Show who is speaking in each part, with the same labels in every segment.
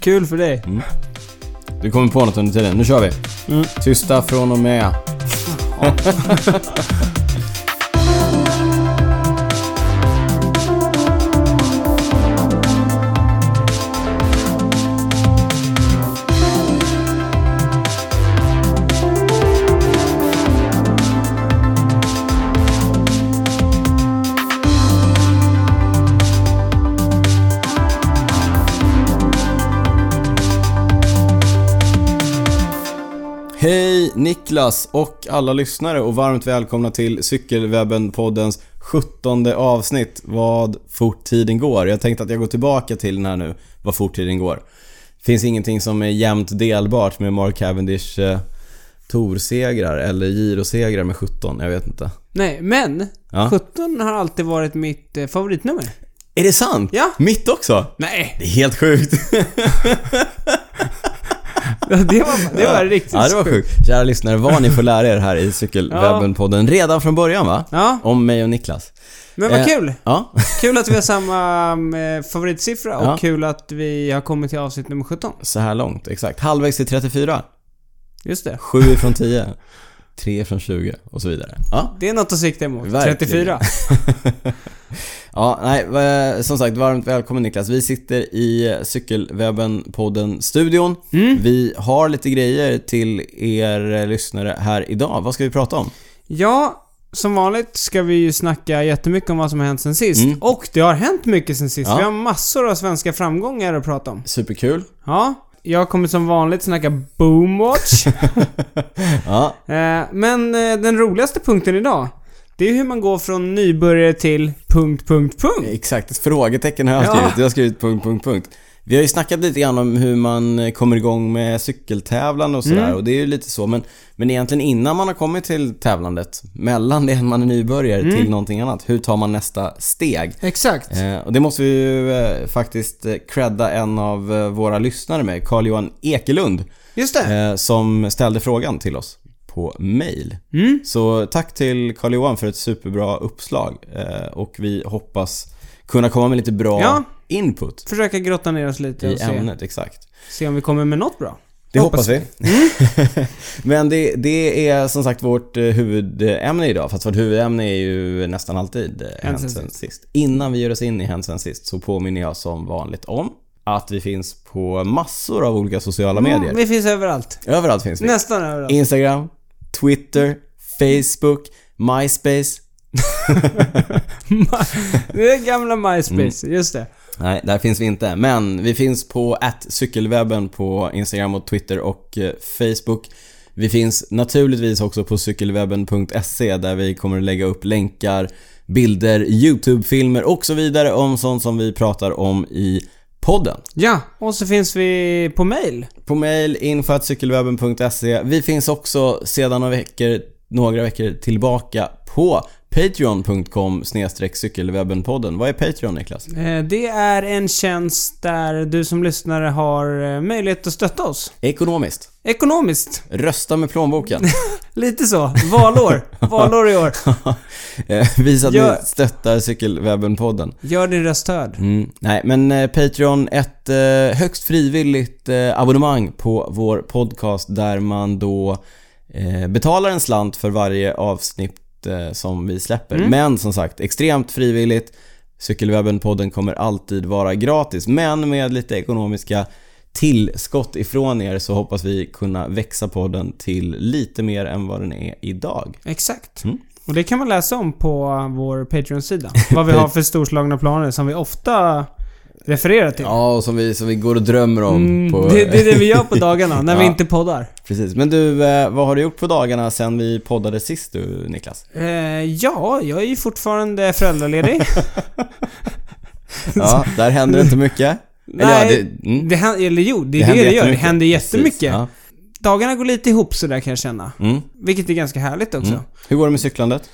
Speaker 1: Kul för dig.
Speaker 2: Mm. Du kommer på något under tiden. Nu kör vi.
Speaker 1: Mm.
Speaker 2: Tysta från och med. Hej Niklas och alla lyssnare och varmt välkomna till Cykelwebben-poddens 17 avsnitt Vad fort tiden går. Jag tänkte att jag går tillbaka till den här nu, Vad fort tiden går. Finns ingenting som är jämnt delbart med Mark Cavendish eh, Tour-segrar eller Giro-segrar med 17, jag vet inte.
Speaker 1: Nej, men
Speaker 2: Ja.
Speaker 1: 17 har alltid varit mitt eh, favoritnummer.
Speaker 2: Är det sant?
Speaker 1: Ja.
Speaker 2: Mitt också?
Speaker 1: Nej,
Speaker 2: Det är helt sjukt.
Speaker 1: det var, det var riktigt
Speaker 2: Ja, det var sjukt. Kära lyssnare, vad ni får lära er här i Cykelwebben-podden redan från början va?
Speaker 1: Ja,
Speaker 2: Om mig och Niklas.
Speaker 1: men vad
Speaker 2: Eh,
Speaker 1: kul.
Speaker 2: Ja.
Speaker 1: Kul att vi har samma eh, favoritsiffra och
Speaker 2: Ja.
Speaker 1: kul att vi har kommit till avsnitt nummer 17.
Speaker 2: Så här långt, exakt. Halvvägs till 34.
Speaker 1: Just det.
Speaker 2: 7 ifrån 10. 3 från 20 och så vidare. Ja,
Speaker 1: Det är något att sikta emot.
Speaker 2: Verkligen.
Speaker 1: 34.
Speaker 2: ja nej, va- som sagt, varmt välkommen Niklas. Vi sitter i Cykelwebben-podden-studion. Vi har lite grejer till er eh, lyssnare här idag. Vad ska vi prata om?
Speaker 1: Ja, som vanligt ska vi ju snacka jättemycket om vad som har hänt sen sist. Och det har hänt mycket sen sist.
Speaker 2: Mm. Ja.
Speaker 1: Vi har massor av svenska framgångar att prata om.
Speaker 2: Superkul.
Speaker 1: Ja, jag kommer som vanligt snacka Boomwatch.
Speaker 2: Ja,
Speaker 1: Eh, Men eh, den roligaste punkten idag, det är hur man går från nybörjare till punkt, punkt, punkt.
Speaker 2: Exakt, ett frågetecken har jag
Speaker 1: Ja.
Speaker 2: skrivit. Jag har skrivit punkt, punkt, punkt. Vi har ju snackat lite grann om hur man eh, kommer igång med cykeltävlan och sådär och det är ju lite så men, men egentligen innan man har kommit till tävlandet, mellan det att man är nybörjare till någonting annat, hur tar man nästa steg?
Speaker 1: Exakt.
Speaker 2: Eh, och det måste vi ju eh, faktiskt eh, credda en av eh, våra lyssnare med, Carl-Johan Ekelund,
Speaker 1: Just det.
Speaker 2: eh, som ställde frågan till oss på mail.
Speaker 1: Mm.
Speaker 2: Så tack till Carl Johan för ett superbra uppslag eh, och vi hoppas kunna komma med lite bra
Speaker 1: Ja.
Speaker 2: input
Speaker 1: Försöka grotta ner oss lite
Speaker 2: i
Speaker 1: och se,
Speaker 2: ämnet, exakt.
Speaker 1: se om vi kommer med något bra.
Speaker 2: Det hoppas, vi. Mm. Men det, det är som sagt vårt eh, huvudämne idag, fast vårt huvudämne är ju nästan alltid eh, Hänt sen sist. Innan vi gör oss in i Hänt sen sist så påminner jag som vanligt om att vi finns på massor av olika sociala medier.
Speaker 1: Mm, vi finns överallt.
Speaker 2: Överallt finns vi.
Speaker 1: Nästan överallt.
Speaker 2: Instagram, Twitter, Facebook, MySpace.
Speaker 1: det är gamla MySpace,
Speaker 2: Mm.
Speaker 1: just det.
Speaker 2: Nej, där finns vi inte. Men vi finns på cykelwebben på Instagram och Twitter och eh, Facebook. Vi finns naturligtvis också på cykelwebben.se där vi kommer att lägga upp länkar, bilder, YouTube-filmer och så vidare om sånt som vi pratar om i podden.
Speaker 1: Ja, och så finns vi på mail.
Speaker 2: På mail info.cykelwebben.se. Vi finns också sedan några veckor, några veckor tillbaka på patreon.com cykelwebbenpodden. Vad är Patreon Niklas?
Speaker 1: Eh, Det är en tjänst där du som lyssnare har eh, möjlighet att stötta oss.
Speaker 2: Ekonomiskt.
Speaker 1: Ekonomiskt.
Speaker 2: Rösta med plånboken.
Speaker 1: Lite så. Valår. Valår i år.
Speaker 2: Eh, Visa att
Speaker 1: Gör-
Speaker 2: ni stöttar Cykelwebben-podden.
Speaker 1: Gör din röst hörd.
Speaker 2: Mm. Nej, men eh, Patreon, ett eh, högst frivilligt eh, abonnemang på vår podcast där man då eh, betalar en slant för varje avsnitt eh, som vi släpper. Men som sagt, extremt frivilligt. Cykelwebben-podden kommer alltid vara gratis, men med lite ekonomiska tillskott ifrån er så hoppas vi kunna växa podden till lite mer än vad den är idag.
Speaker 1: Exakt.
Speaker 2: Mm.
Speaker 1: Och det kan man läsa om på vår Patreon-sida. Vad vi har för storslagna planer som vi ofta refererar till.
Speaker 2: Ja, och som vi, som vi går och drömmer om.
Speaker 1: Mm,
Speaker 2: på...
Speaker 1: det, det är det vi gör på dagarna när vi
Speaker 2: Ja.
Speaker 1: inte poddar.
Speaker 2: Precis. Men du, eh, vad har du gjort på dagarna sen vi poddade sist du, Niklas?
Speaker 1: Eh, ja, jag är ju fortfarande föräldraledig.
Speaker 2: Ja, där händer inte mycket. Eller ja,
Speaker 1: Nej,
Speaker 2: det, mm,
Speaker 1: det händer, eller jo, det är det
Speaker 2: händer
Speaker 1: det gör. Det
Speaker 2: jättemycket.
Speaker 1: händer
Speaker 2: precis.
Speaker 1: jättemycket.
Speaker 2: Ja.
Speaker 1: Dagarna går lite ihop sådär kan jag känna.
Speaker 2: Mm.
Speaker 1: Vilket är ganska härligt också.
Speaker 2: Mm. Hur går det med cyklandet?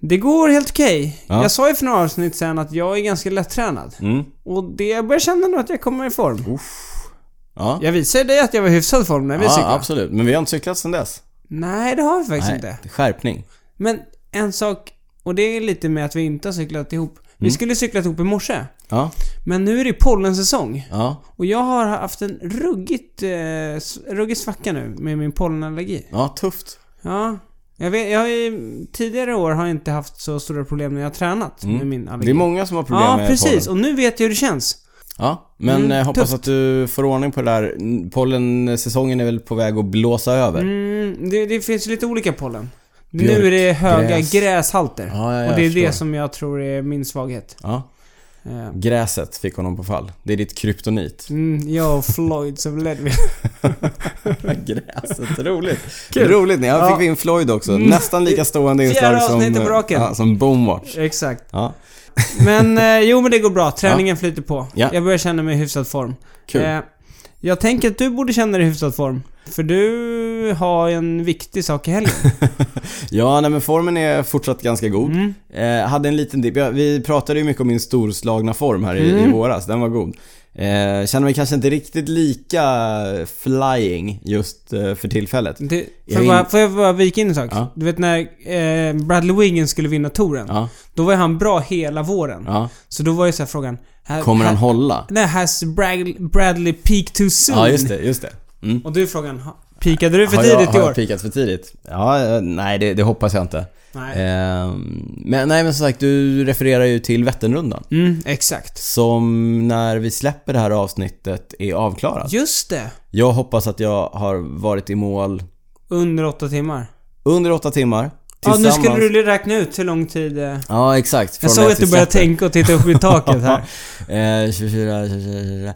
Speaker 1: Det går helt okej.
Speaker 2: Ja.
Speaker 1: Jag sa ju för några avsnitt sen att jag är ganska lättränad.
Speaker 2: Mm.
Speaker 1: Och det jag börjar känna nu att jag kommer i form.
Speaker 2: Ja,
Speaker 1: Jag visade dig att jag var i hyfsad form när vi
Speaker 2: Mm. ja
Speaker 1: cyklade.
Speaker 2: absolut. Men vi har inte cyklat sen dess.
Speaker 1: Nej, det har vi faktiskt inte.
Speaker 2: Skärpning. Mm.
Speaker 1: Men en sak, och det är lite med att vi inte har cyklat ihop. Vi skulle cyklat ihop i morse.
Speaker 2: Ja,
Speaker 1: Men nu är det ju pollensäsong.
Speaker 2: ja,
Speaker 1: Och jag har haft en ruggigt, eh, s- ruggig svacka nu med min pollenallergi.
Speaker 2: ja, tufft.
Speaker 1: Ja. Jag vet, jag har ju, tidigare år har jag inte haft så stora problem när jag har tränat med min allergi.
Speaker 2: Mm. Det är många som har problem
Speaker 1: Ja,
Speaker 2: med
Speaker 1: precis.
Speaker 2: pollen.
Speaker 1: Och nu vet jag hur det känns.
Speaker 2: Ja, men
Speaker 1: Mm,
Speaker 2: eh, hoppas
Speaker 1: tufft.
Speaker 2: att du får ordning på det där. Mm, Pollensäsongen är väl på väg att blåsa över.
Speaker 1: Mm, det, det finns ju lite olika pollen.
Speaker 2: Björk,
Speaker 1: nu är det höga
Speaker 2: gräs.
Speaker 1: gräshalter.
Speaker 2: Ja, ja, ja,
Speaker 1: och det är
Speaker 2: jag förstår.
Speaker 1: det som jag tror är min svaghet.
Speaker 2: Ja,
Speaker 1: Eh,
Speaker 2: gräset fick honom på fall. Det är ditt kryptonit.
Speaker 1: Mm, jag och Floyd som ledde
Speaker 2: gräset, roligt.
Speaker 1: Kul.
Speaker 2: Roligt, nej, han
Speaker 1: Ja.
Speaker 2: fick vi in Floyd också.
Speaker 1: Mm.
Speaker 2: Nästan lika stående inslag
Speaker 1: Fjärde
Speaker 2: som,
Speaker 1: avsnittet på raken.
Speaker 2: ja, som Boomwatch.
Speaker 1: Exakt.
Speaker 2: Ja,
Speaker 1: Men eh, jo men det går bra. Träningen flyter på.
Speaker 2: Ja.
Speaker 1: Jag börjar känna mig i hyfsad form.
Speaker 2: kul.
Speaker 1: Eh, jag tänker att du borde känna dig i hyfsad form. För du har en viktig sak i helgen.
Speaker 2: Ja, nej, men formen är fortsatt ganska god.
Speaker 1: Mm.
Speaker 2: Eh, hade en liten dipp. Jag- Vi pratade ju mycket om min storslagna form här i, i
Speaker 1: Mm.
Speaker 2: våras. Den var god. Eh, känner mig kanske inte riktigt lika flying just eh, för tillfället.
Speaker 1: Det,
Speaker 2: Jag
Speaker 1: får, jag
Speaker 2: in-
Speaker 1: bara, får jag bara vika in en sak?
Speaker 2: Ja.
Speaker 1: Du vet när eh, Bradley Wiggins skulle vinna touren.
Speaker 2: Ja,
Speaker 1: Då var ju han bra hela våren.
Speaker 2: ja.
Speaker 1: Så då var ju så här frågan... Här,
Speaker 2: Kommer han
Speaker 1: här,
Speaker 2: hålla?
Speaker 1: Nej, has Bradley, Bradley peaked too soon?
Speaker 2: Ja, just det. Just det. Mm.
Speaker 1: Och då är frågan, ha- peakade du för
Speaker 2: har jag,
Speaker 1: tidigt
Speaker 2: har
Speaker 1: i
Speaker 2: jag
Speaker 1: år?
Speaker 2: peakat för tidigt? Ja, eh, nej det, det hoppas jag inte.
Speaker 1: Nej.
Speaker 2: Ehm, men nej men som sagt, du refererar ju till Vätternrundan.
Speaker 1: Mm, exakt.
Speaker 2: Som när vi släpper det här avsnittet är avklarat.
Speaker 1: Just det.
Speaker 2: Jag hoppas att jag har varit i mål
Speaker 1: Under åtta timmar.
Speaker 2: under åtta timmar.
Speaker 1: Ja, nu skulle
Speaker 2: tillsammans-
Speaker 1: du räkna ut hur lång tid... Eh,
Speaker 2: Ja, exakt. Från
Speaker 1: jag såg
Speaker 2: det
Speaker 1: att du
Speaker 2: till
Speaker 1: började
Speaker 2: släppet.
Speaker 1: tänka och titta upp i taket här.
Speaker 2: Eh, 24, 24, 24.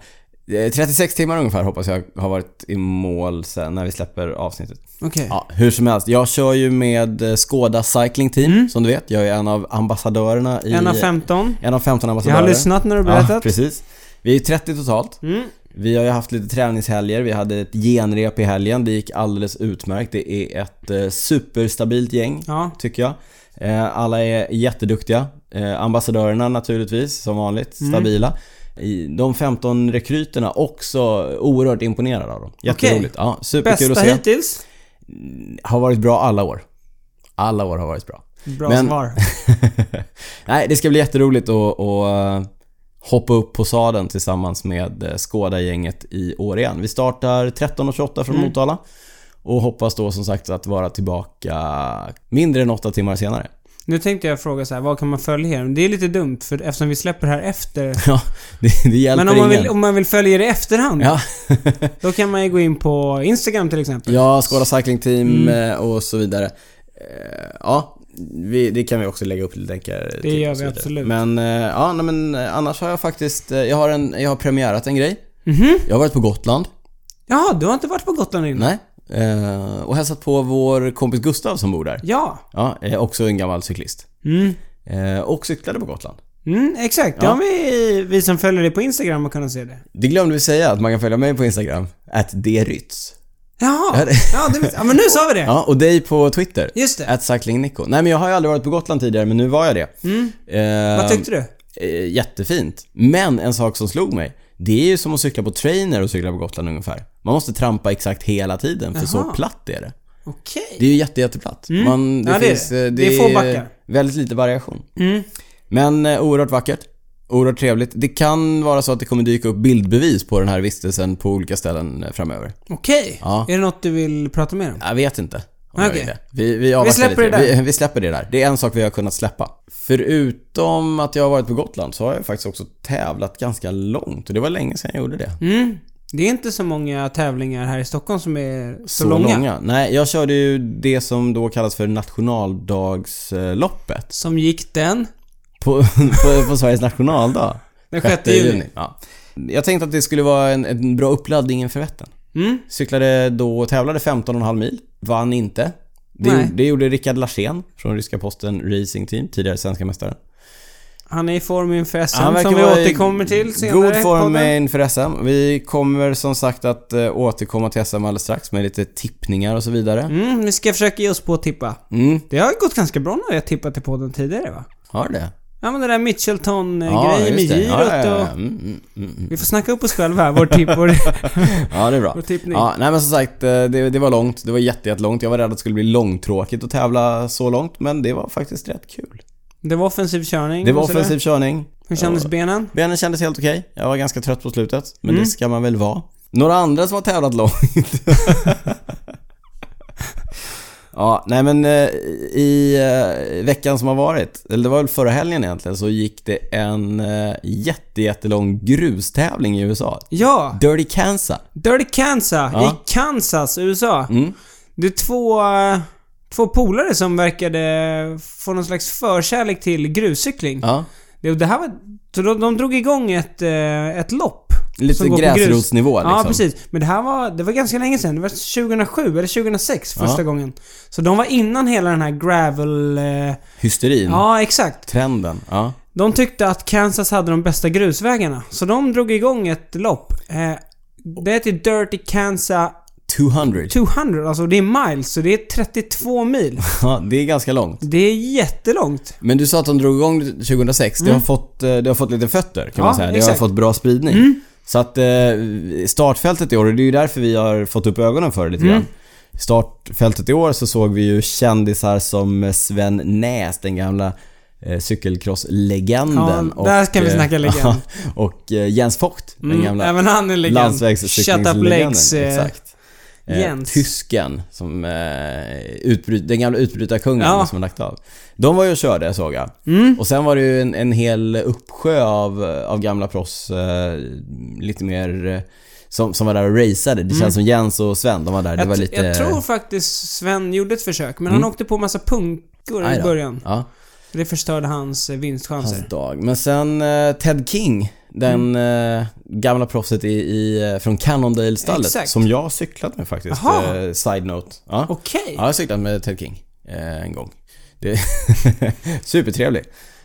Speaker 2: Eh, 36 timmar ungefär hoppas jag har varit i mål sen när vi släpper avsnittet.
Speaker 1: Okej.
Speaker 2: Ja, hur som helst. Jag kör ju med eh, Skoda Cycling Team, som du vet. Jag är en av ambassadörerna i...
Speaker 1: Mm. En av 15.
Speaker 2: En av 15
Speaker 1: Jag
Speaker 2: ambassadörer.
Speaker 1: har lyssnat när du
Speaker 2: Ja,
Speaker 1: berättat.
Speaker 2: precis. Vi är 30 totalt.
Speaker 1: Mm.
Speaker 2: Vi har ju haft lite träningshelger. Vi hade ett genrep i helgen. Det gick alldeles utmärkt. Det är ett eh, superstabilt gäng,
Speaker 1: Ja.
Speaker 2: tycker jag. Eh, alla är jätteduktiga. Eh, ambassadörerna naturligtvis, som vanligt,
Speaker 1: Mm.
Speaker 2: stabila. I- De 15 rekryterna också oerhört imponerade av dem. Jätteroligt. Ja, superkul
Speaker 1: Bästa
Speaker 2: att se.
Speaker 1: hittills.
Speaker 2: Har varit bra alla år. Alla år har varit bra.
Speaker 1: Bra
Speaker 2: Men-
Speaker 1: svar.
Speaker 2: Nej, det ska bli jätteroligt att, att hoppa upp på sadeln tillsammans med eh, Skåda-gänget i år igen. Vi startar 13.28
Speaker 1: Mm.
Speaker 2: från Motala och hoppas då som sagt att vara tillbaka mindre än 8 timmar senare.
Speaker 1: Nu tänkte jag fråga så här, vad kan man följa er? Det är lite dumt för eftersom vi släpper här efter.
Speaker 2: Ja, det, det hjälper
Speaker 1: Men om man,
Speaker 2: ingen.
Speaker 1: vill, om man vill följa er i efterhand,
Speaker 2: Ja,
Speaker 1: då kan man ju gå in på Instagram till exempel.
Speaker 2: ja Skåda Cycling Team
Speaker 1: Mm.
Speaker 2: eh, och så vidare. Eh, Ja, vi, det kan vi också lägga upp länkar till.
Speaker 1: gör
Speaker 2: och så
Speaker 1: vi
Speaker 2: vidare.
Speaker 1: absolut.
Speaker 2: Men, eh, ja, nej, men eh, annars har jag faktiskt, eh, jag har, en, jag har premiärat en grej.
Speaker 1: Mhm.
Speaker 2: Jag har varit på Gotland.
Speaker 1: Ja, du har inte varit på Gotland innan?
Speaker 2: Nej. Eh, och hälsat på vår kompis Gustav som bor där.
Speaker 1: Ja.
Speaker 2: Ja, eh, också en gammal cyklist.
Speaker 1: Mm.
Speaker 2: Eh, och cyklade på Gotland.
Speaker 1: Mm, exakt. Ja.
Speaker 2: Ja.
Speaker 1: har vi, vi som följer dig på Instagram har kunnat se det.
Speaker 2: Det glömde vi säga att man kan följa mig på Instagram, att drytz. Ja,
Speaker 1: Jaha.
Speaker 2: det-
Speaker 1: Ja, det, ja men nu sa vi det.
Speaker 2: Ja, och dig på Twitter,
Speaker 1: Äh. Just det.
Speaker 2: att cyclingnico. Nej men jag har ju aldrig varit på Gotland tidigare, men nu var jag det.
Speaker 1: Mm.
Speaker 2: Eh,
Speaker 1: Vad tyckte du?
Speaker 2: eh, Jättefint. Men en sak som slog mig, det är ju som att cykla på trainer och cykla på Gotland ungefär. Man måste trampa exakt hela tiden, för så
Speaker 1: Jaha.
Speaker 2: platt är det.
Speaker 1: Okej.
Speaker 2: Det är ju jätte, jätteplatt.
Speaker 1: Mm.
Speaker 2: Man, det,
Speaker 1: Ja, det är
Speaker 2: finns,
Speaker 1: det.
Speaker 2: eh,
Speaker 1: Det är få backar.
Speaker 2: väldigt lite variation.
Speaker 1: Mm.
Speaker 2: Men eh, oerhört vackert. Oerhört trevligt. Det kan vara så att det kommer dyka upp bildbevis på den här vistelsen på olika ställen eh, framöver.
Speaker 1: Okej.
Speaker 2: Ja.
Speaker 1: Är det något du vill prata mer om?
Speaker 2: Jag vet inte. Om jag
Speaker 1: Okej.
Speaker 2: vill det. Vi, vi, avvaktar
Speaker 1: släpper
Speaker 2: lite.
Speaker 1: det där.
Speaker 2: Vi, vi släpper det där. Det är en sak vi har kunnat släppa. Förutom att jag har varit på Gotland så har jag faktiskt också tävlat ganska långt och det var länge sedan jag gjorde det.
Speaker 1: Mm. Det är inte så många tävlingar här i Stockholm som är så,
Speaker 2: Så
Speaker 1: långa.
Speaker 2: Nej, jag körde ju det som då kallas för nationaldagsloppet.
Speaker 1: Som gick den
Speaker 2: På, på, på Sveriges nationaldag.
Speaker 1: den 6 juni.
Speaker 2: Ja. Jag tänkte att det skulle vara en, en bra uppladdning inför Vättern.
Speaker 1: Mm.
Speaker 2: Cyklade då och tävlade 15,5 mil. Vann inte. Det,
Speaker 1: Nej.
Speaker 2: gjorde- det gjorde Rickard Larsén från ryska posten Racing Team, tidigare svenska mästaren.
Speaker 1: Han är i form inför SM
Speaker 2: verkar
Speaker 1: som vi
Speaker 2: vara i
Speaker 1: återkommer till senare
Speaker 2: God
Speaker 1: i
Speaker 2: form
Speaker 1: podden.
Speaker 2: inför SM. Vi kommer som sagt att eh, återkomma till SM alldeles strax med lite tippningar och så vidare.
Speaker 1: Mm, vi ska försöka ge oss på att tippa.
Speaker 2: Mm,
Speaker 1: Det har gått ganska bra när vi har tippat i podden tidigare va?
Speaker 2: har det?
Speaker 1: Ja men det där Mitchelton-grejen med
Speaker 2: just det.
Speaker 1: girot
Speaker 2: Ja, ja, ja.
Speaker 1: och...
Speaker 2: Mm, mm, mm, mm.
Speaker 1: Vi får snacka upp oss själva här, vår tipp. Vår...
Speaker 2: Ja, det är bra.
Speaker 1: Vår tippning.
Speaker 2: Ja, nej men som sagt, eh, det, det var långt. Det var jätte, jättelångt. Jag var rädd att det skulle bli långtråkigt att tävla så långt, men det var faktiskt rätt kul.
Speaker 1: Mm, Det var offensiv körning.
Speaker 2: Det var
Speaker 1: och sådär.
Speaker 2: offensiv körning.
Speaker 1: Hur Hur kändes benen?
Speaker 2: Benen kändes helt okej. Jag var ganska trött på slutet, men
Speaker 1: Mm.
Speaker 2: det ska man väl vara. Några andra som har tävlat långt. ja, nej men eh, i eh, veckan som har varit, eller det var väl förra helgen egentligen, så gick det en eh, jätte, jättelång grustävling i USA.
Speaker 1: Ja!
Speaker 2: Dirty Kansas.
Speaker 1: Dirty Kansas
Speaker 2: Ja.
Speaker 1: i Kansas, USA.
Speaker 2: Mm.
Speaker 1: Det är två, eh, två polare som verkade få någon slags förkärlek till gruscykling.
Speaker 2: Ja.
Speaker 1: Det, det här var, så de, de drog igång ett, eh, ett lopp.
Speaker 2: Lite
Speaker 1: Som går på grus.
Speaker 2: gräsrotsnivå liksom.
Speaker 1: Ja, precis. Men det här var, det var ganska länge sedan. Det var 2007 eller 2006 första
Speaker 2: Ja.
Speaker 1: gången. Så de var innan hela den här gravel... Eh,
Speaker 2: Hysterin.
Speaker 1: ja, exakt.
Speaker 2: Trenden. Ja.
Speaker 1: De tyckte att Kansas hade de bästa grusvägarna. Så de drog igång ett lopp. Eh, det heter Dirty Kansas
Speaker 2: 200.
Speaker 1: 200. Alltså det är miles, så det är 32 mil.
Speaker 2: Ja, det är ganska långt.
Speaker 1: Det är jättelångt.
Speaker 2: Men du sa att de drog igång 2006. Det, har fått, eh, det har fått lite fötter kan
Speaker 1: Mm. Ja,
Speaker 2: man säga. Det
Speaker 1: exakt. Mm.
Speaker 2: har fått bra spridning. Så att eh, startfältet i år, och det är ju därför vi har fått upp ögonen för det
Speaker 1: Mm.
Speaker 2: lite grann. Startfältet i år så såg vi ju kändisar som Sven Näs, den gamla eh, cykelcrosslegenden.
Speaker 1: Ja, där kan vi
Speaker 2: eh,
Speaker 1: snacka legend.
Speaker 2: och eh, Jens Vogt, den
Speaker 1: Mm,
Speaker 2: gamla
Speaker 1: även han är legend. Shut up
Speaker 2: landsvägscyklingslegenden.
Speaker 1: legs. eh,
Speaker 2: Exakt. Eh,
Speaker 1: Jens.
Speaker 2: Tysken, som, eh, utbryt, den gamla utbrytarkungen
Speaker 1: Ja.
Speaker 2: som har lagt av. De var ju och körde såg jag.
Speaker 1: Mm.
Speaker 2: Och sen var det ju en, en hel uppsjö av, av gamla proffs, eh, lite mer, eh, som, som var där och raceade. Det känns som Jens och Sven, de var där. Det
Speaker 1: Mm. eh, Jag,
Speaker 2: var
Speaker 1: tr-
Speaker 2: lite... Mm.
Speaker 1: jag tror faktiskt Sven gjorde ett försök, men han åkte på massa punkor
Speaker 2: Aj
Speaker 1: i
Speaker 2: då.
Speaker 1: början.
Speaker 2: Ja,
Speaker 1: Det förstörde hans eh, vinstchanser.
Speaker 2: hans dag. Men sen eh, Ted King, den
Speaker 1: Mm.
Speaker 2: eh, gamla proffset i, i, eh, från Cannondale-stallet.
Speaker 1: Exakt.
Speaker 2: Som jag har cyklat med faktiskt.
Speaker 1: Jaha.
Speaker 2: Eh, side note. Ja.
Speaker 1: Okej.
Speaker 2: Ja, jag har cyklat med Ted King eh, en gång. Det supertrevlig.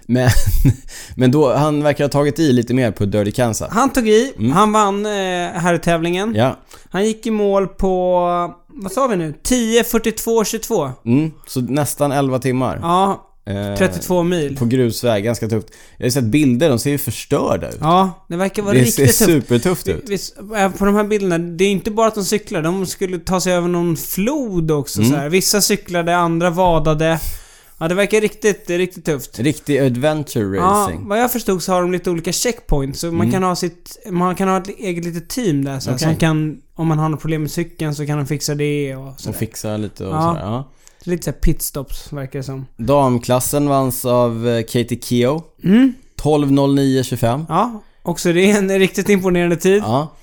Speaker 2: Men, men då, han verkar ha tagit i lite mer på Dirty Kansas.
Speaker 1: Han tog i, han vann eh, herrtävlingen.
Speaker 2: Mm. Ja,
Speaker 1: Han gick i mål på, vad sa vi nu? 10, 42, 22.
Speaker 2: mm, så nästan 11 timmar.
Speaker 1: Ja,
Speaker 2: Eh,
Speaker 1: 32 mil.
Speaker 2: På grusväg, ganska tufft. Jag har sett bilder, de ser ju förstörda ut.
Speaker 1: Ja, det verkar vara
Speaker 2: det ser
Speaker 1: riktigt tufft.
Speaker 2: supertufft ut.
Speaker 1: Visst, även eh, på de här bilderna, det är inte bara att de cyklar. De skulle ta sig över någon flod också
Speaker 2: Mm.
Speaker 1: så här. Vissa cyklade, andra vadade. Ja, det verkar riktigt, riktigt tufft.
Speaker 2: Riktig adventure
Speaker 1: Ja,
Speaker 2: racing.
Speaker 1: vad jag förstod så har de lite olika checkpoints. Så man, kan ha sitt, man kan ha ett eget litet team där så här,
Speaker 2: Mm. Okej.
Speaker 1: som kan, Om man har något problem med cykeln så kan de fixa det och
Speaker 2: och
Speaker 1: sådär.
Speaker 2: fixa lite och
Speaker 1: Ja.
Speaker 2: sådär. Ja.
Speaker 1: Så lite såhär pitstops verkar det som.
Speaker 2: Damklassen vanns av eh, Katie Keough. 12.09.25.
Speaker 1: Mm. Ja, också det är en riktigt imponerande tid.
Speaker 2: Ja.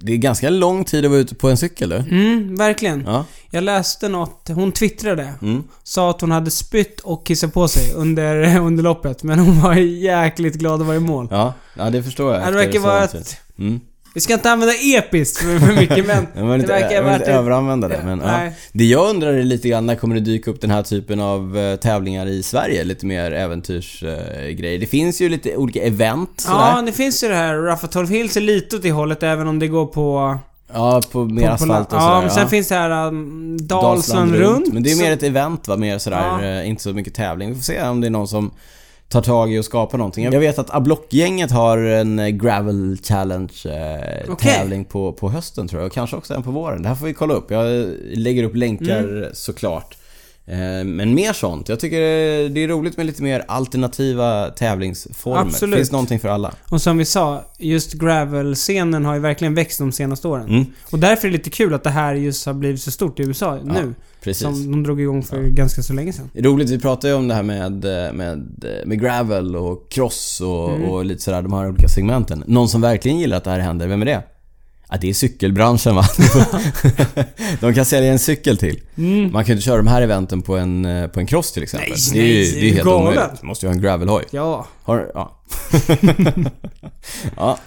Speaker 2: Det är ganska lång tid att vara ute på en cykel du.
Speaker 1: Mm, verkligen.
Speaker 2: Ja.
Speaker 1: Jag läste något, hon twittrade.
Speaker 2: Mm.
Speaker 1: Sa att hon hade spytt och kissat på sig under, under loppet. Men hon var jäkligt glad att vara i mål.
Speaker 2: Ja, ja det förstår jag.
Speaker 1: Ja, det
Speaker 2: efter
Speaker 1: verkar
Speaker 2: så
Speaker 1: vara
Speaker 2: lång
Speaker 1: ett-
Speaker 2: tid. Mm.
Speaker 1: Vi ska inte använda episkt för, för mycket men...
Speaker 2: Jag vill inte,
Speaker 1: det verkar typ-
Speaker 2: jag vill
Speaker 1: värt
Speaker 2: inte
Speaker 1: det.
Speaker 2: överanvända det, men ja.
Speaker 1: Nej.
Speaker 2: Det jag undrar är lite grann, när kommer det dyka upp den här typen av eh, tävlingar i Sverige? Lite mer äventyrsgrejer. Det finns ju lite olika event
Speaker 1: Ja,
Speaker 2: sådär.
Speaker 1: det finns ju det här. Raffatorp Hills är lite åt det hållet även om det går på...
Speaker 2: Ja, på mer
Speaker 1: på, på
Speaker 2: asfalt och sådär.
Speaker 1: Ja, men sen finns det här um, Dalsland, runt.
Speaker 2: Men det är
Speaker 1: så-
Speaker 2: mer ett event va, mer sådär, eh, inte så mycket tävling. Vi får se om det är någon som tar tag i och skapar någonting. Jag vet att Ablock-gänget har en eh, Gravel Challenge eh,
Speaker 1: Okej.
Speaker 2: tävling på, på hösten tror jag, och kanske också en på våren. Det här får vi kolla upp. Jag eh, lägger upp länkar
Speaker 1: Mm.
Speaker 2: såklart. Eh, Men mer sånt. Jag tycker eh, det är roligt med lite mer alternativa tävlingsformer.
Speaker 1: Absolut.
Speaker 2: Det finns någonting för alla.
Speaker 1: Och som vi sa, just gravel-scenen har ju verkligen växt de senaste åren.
Speaker 2: Mm.
Speaker 1: Och därför är det lite kul att det här just har blivit så stort i USA nu.
Speaker 2: Precis.
Speaker 1: Som de drog igång för ganska så länge sedan.
Speaker 2: Det är Roligt, vi pratar ju om det här med, eh, med, med gravel och cross och,
Speaker 1: Mm.
Speaker 2: och lite sådär, de här olika segmenten. Någon som verkligen gillar att det här händer, vem är det? Ja, det är cykelbranschen va? de kan sälja en cykel till. Man kan ju inte köra de här eventen på en, eh, på en cross till exempel.
Speaker 1: Mm. Nej,
Speaker 2: det är ju
Speaker 1: nej,
Speaker 2: det
Speaker 1: det
Speaker 2: är
Speaker 1: är
Speaker 2: helt
Speaker 1: galet.
Speaker 2: omöjligt. Du måste ju ha en gravelhoj.
Speaker 1: Ja.
Speaker 2: Har, ja. ja.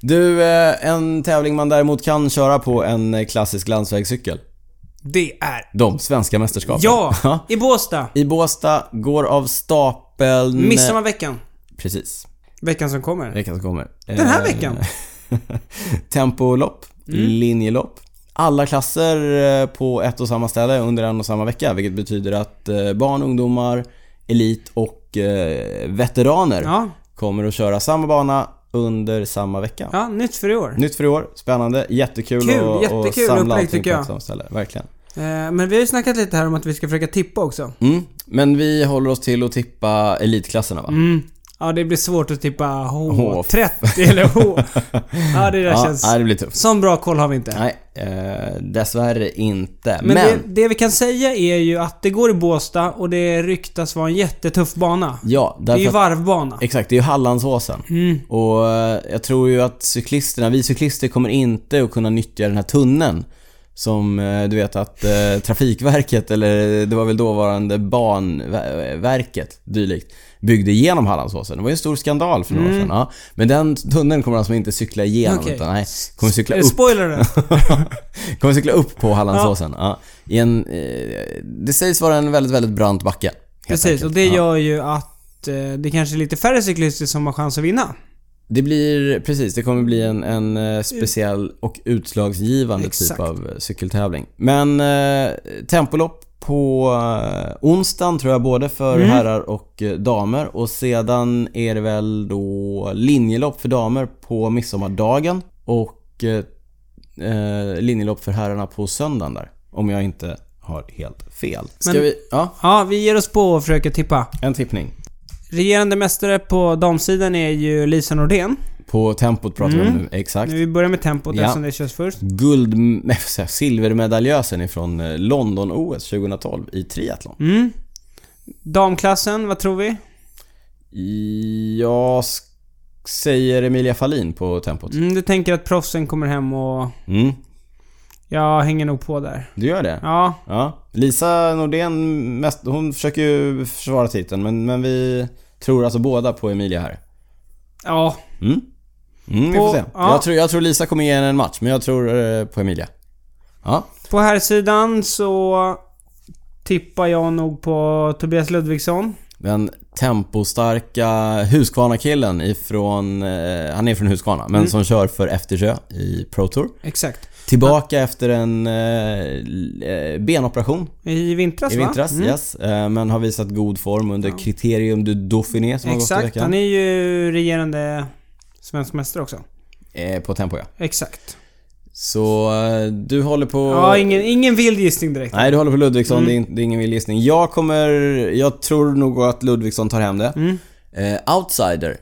Speaker 2: Du, eh, en tävling man däremot kan köra på en eh, klassisk landsvägscykel.
Speaker 1: Det är...
Speaker 2: De svenska mästerskapen.
Speaker 1: Ja! I Båstad.
Speaker 2: I Båstad går av stapeln...
Speaker 1: Midsommarveckan.
Speaker 2: Precis.
Speaker 1: Veckan som kommer.
Speaker 2: Veckan som kommer.
Speaker 1: Den här
Speaker 2: Eh,
Speaker 1: veckan. Mm.
Speaker 2: Tempolopp, linjelopp. Alla klasser eh, på ett och samma ställe under en och samma vecka. Vilket betyder att eh, barn, ungdomar, elit och eh, veteraner
Speaker 1: Ja.
Speaker 2: kommer att köra samma bana under samma vecka.
Speaker 1: Ja, nytt för i år.
Speaker 2: Nytt för i år, spännande, jättekul
Speaker 1: Kul,
Speaker 2: och, och
Speaker 1: jättekul
Speaker 2: samla
Speaker 1: upplägg,
Speaker 2: allting på
Speaker 1: tycker
Speaker 2: ett
Speaker 1: jag.
Speaker 2: samma ställe. Verkligen.
Speaker 1: Eh, men vi har ju snackat lite här om att vi ska försöka tippa också.
Speaker 2: Mm. Men vi håller oss till att tippa elitklasserna va?
Speaker 1: Mm. Ja, det blir svårt att tippa
Speaker 2: H.
Speaker 1: H30 eller H. Ja, det där
Speaker 2: ja,
Speaker 1: känns...
Speaker 2: nej, det blir tufft.
Speaker 1: Sån bra koll har vi inte.
Speaker 2: Nej, eh, dessvärre inte.
Speaker 1: Men,
Speaker 2: Men,
Speaker 1: Det, det vi kan säga är ju att det går i Båstad och det ryktas vara en jättetuff bana.
Speaker 2: ja,
Speaker 1: Det är ju Mm.
Speaker 2: därför att,
Speaker 1: varvbana.
Speaker 2: Exakt, det är ju Hallandsåsen. Och eh, jag tror ju att cyklisterna, vi cyklister kommer inte att kunna nyttja den här tunneln. Som eh, du vet att eh, Trafikverket, eller det var väl dåvarande Banverket, dylikt, byggde igenom Hallandsåsen. Det var ju en stor skandal för några år sedan. Ja. Men den tunneln kommer alltså inte cykla igenom,
Speaker 1: Mm. Okej.
Speaker 2: utan nej, kommer cykla
Speaker 1: Eh,
Speaker 2: upp
Speaker 1: Spoiler det.
Speaker 2: Kommer cykla upp på Hallandsåsen. Ja. I en, eh, det sägs vara en väldigt, väldigt brant backe. helt
Speaker 1: Precis,
Speaker 2: enkelt.
Speaker 1: och det
Speaker 2: Ja.
Speaker 1: gör ju att eh, det kanske är lite färre cyklister som har chans att vinna.
Speaker 2: Det blir, precis, det kommer bli en, en eh, speciell och utslagsgivande
Speaker 1: Exakt.
Speaker 2: typ av eh, cykeltävling. Men eh, tempolopp på eh, onsdagen tror jag, både för
Speaker 1: Mm.
Speaker 2: herrar och eh, damer. Och sedan är det väl då linjelopp för damer på midsommardagen. Och eh, eh, linjelopp för herrarna på söndagen där. Om jag inte har helt fel. Ska
Speaker 1: Men-
Speaker 2: vi, ja,
Speaker 1: Ja, vi ger oss på och försöker tippa.
Speaker 2: en tippning.
Speaker 1: Regerande mästare på damsidan är ju Lisa Nordén.
Speaker 2: På tempot pratar vi om
Speaker 1: Mm.
Speaker 2: nu, exakt.
Speaker 1: Nu vi börjar med tempot
Speaker 2: Ja.
Speaker 1: eftersom det körs först.
Speaker 2: guld, nej, vad säger jag, silvermedaljösen ifrån eh, London-OS 2012 i triathlon.
Speaker 1: Mm. Damklassen, vad tror vi?
Speaker 2: Jag sk- säger Emilia Fahlin på tempot.
Speaker 1: Mm, du tänker att proffsen kommer hem och...
Speaker 2: Mm,
Speaker 1: Jag hänger nog på där.
Speaker 2: du gör det?
Speaker 1: Ja,
Speaker 2: Ja. Lisa Nordén, mest, hon försöker ju försvara titeln men, men vi tror alltså båda på Emilia här.
Speaker 1: ja.
Speaker 2: Mm. Mm, vi
Speaker 1: På-
Speaker 2: får se.
Speaker 1: ja.
Speaker 2: Jag, tror, jag tror Lisa kommer ge henne en match men jag tror eh, på Emilia. Ja.
Speaker 1: På här sidan så tippar jag nog på Tobias Ludvigsson.
Speaker 2: Den tempostarka Huskvarna-killen ifrån, eh, han är från Huskvarna, men
Speaker 1: Mm.
Speaker 2: som kör för Eftersjö i Pro Tour.
Speaker 1: Exakt.
Speaker 2: Tillbaka efter en eh, l- eh, benoperation
Speaker 1: I vintras
Speaker 2: i
Speaker 1: va?
Speaker 2: vintras, yes. Eh, men har visat god form under kriterium du Dauphiné som har gått i
Speaker 1: Exakt. Han
Speaker 2: veckan.
Speaker 1: är ju regerande svensk mästare också.
Speaker 2: Eh, på tempo ja.
Speaker 1: Exakt.
Speaker 2: Så eh, du håller på...
Speaker 1: Ja, ingen, ingen vild gissning direkt.
Speaker 2: Nej, du håller på Ludvigsson.
Speaker 1: Mm.
Speaker 2: Det, är, in- det är ingen vild gissning. Jag kommer... Jag tror nog att Ludvigsson tar hem det.
Speaker 1: Mm.
Speaker 2: Eh, outsider,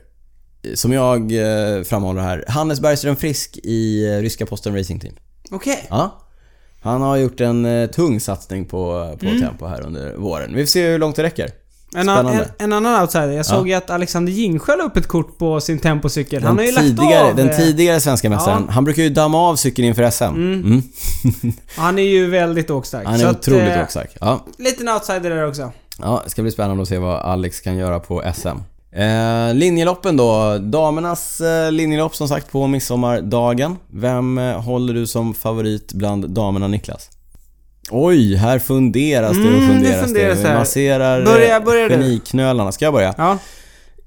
Speaker 2: eh, som jag eh, framhåller här. Hannes Bergström Frisk i eh, ryska Posten Racing Team.
Speaker 1: Okej.
Speaker 2: Ja. Han har gjort en eh, tung satsning på, på
Speaker 1: Mm.
Speaker 2: tempo här under våren. Vi får se hur långt det räcker.
Speaker 1: En, an-
Speaker 2: Spännande.
Speaker 1: en, en annan outsider. Jag såg ju att Alexander Gingsjö la upp ett kort på sin tempocykel. Han har ju lagt
Speaker 2: tidigare,
Speaker 1: av.
Speaker 2: den
Speaker 1: eh,
Speaker 2: tidigare svenska mästaren. Han brukar ju damma av cykeln inför SM. Mm.
Speaker 1: Han är ju väldigt åkstark.
Speaker 2: Han
Speaker 1: Så
Speaker 2: är
Speaker 1: att,
Speaker 2: otroligt
Speaker 1: eh,
Speaker 2: åkstark. Ja.
Speaker 1: Liten outsider där också.
Speaker 2: Ja, det ska bli spännande att se vad Alex kan göra på SM. Eh, linjeloppen då. Damernas eh, linjelopp som sagt på midsommardagen. Vem eh, håller du som favorit bland damerna Niklas? Oj, här funderas det och
Speaker 1: Mm, det
Speaker 2: funderas det.
Speaker 1: funderas
Speaker 2: Vi
Speaker 1: här.
Speaker 2: masserar eh,
Speaker 1: Börja- börja du.
Speaker 2: geniknölarna. Ska jag börja?
Speaker 1: Ja.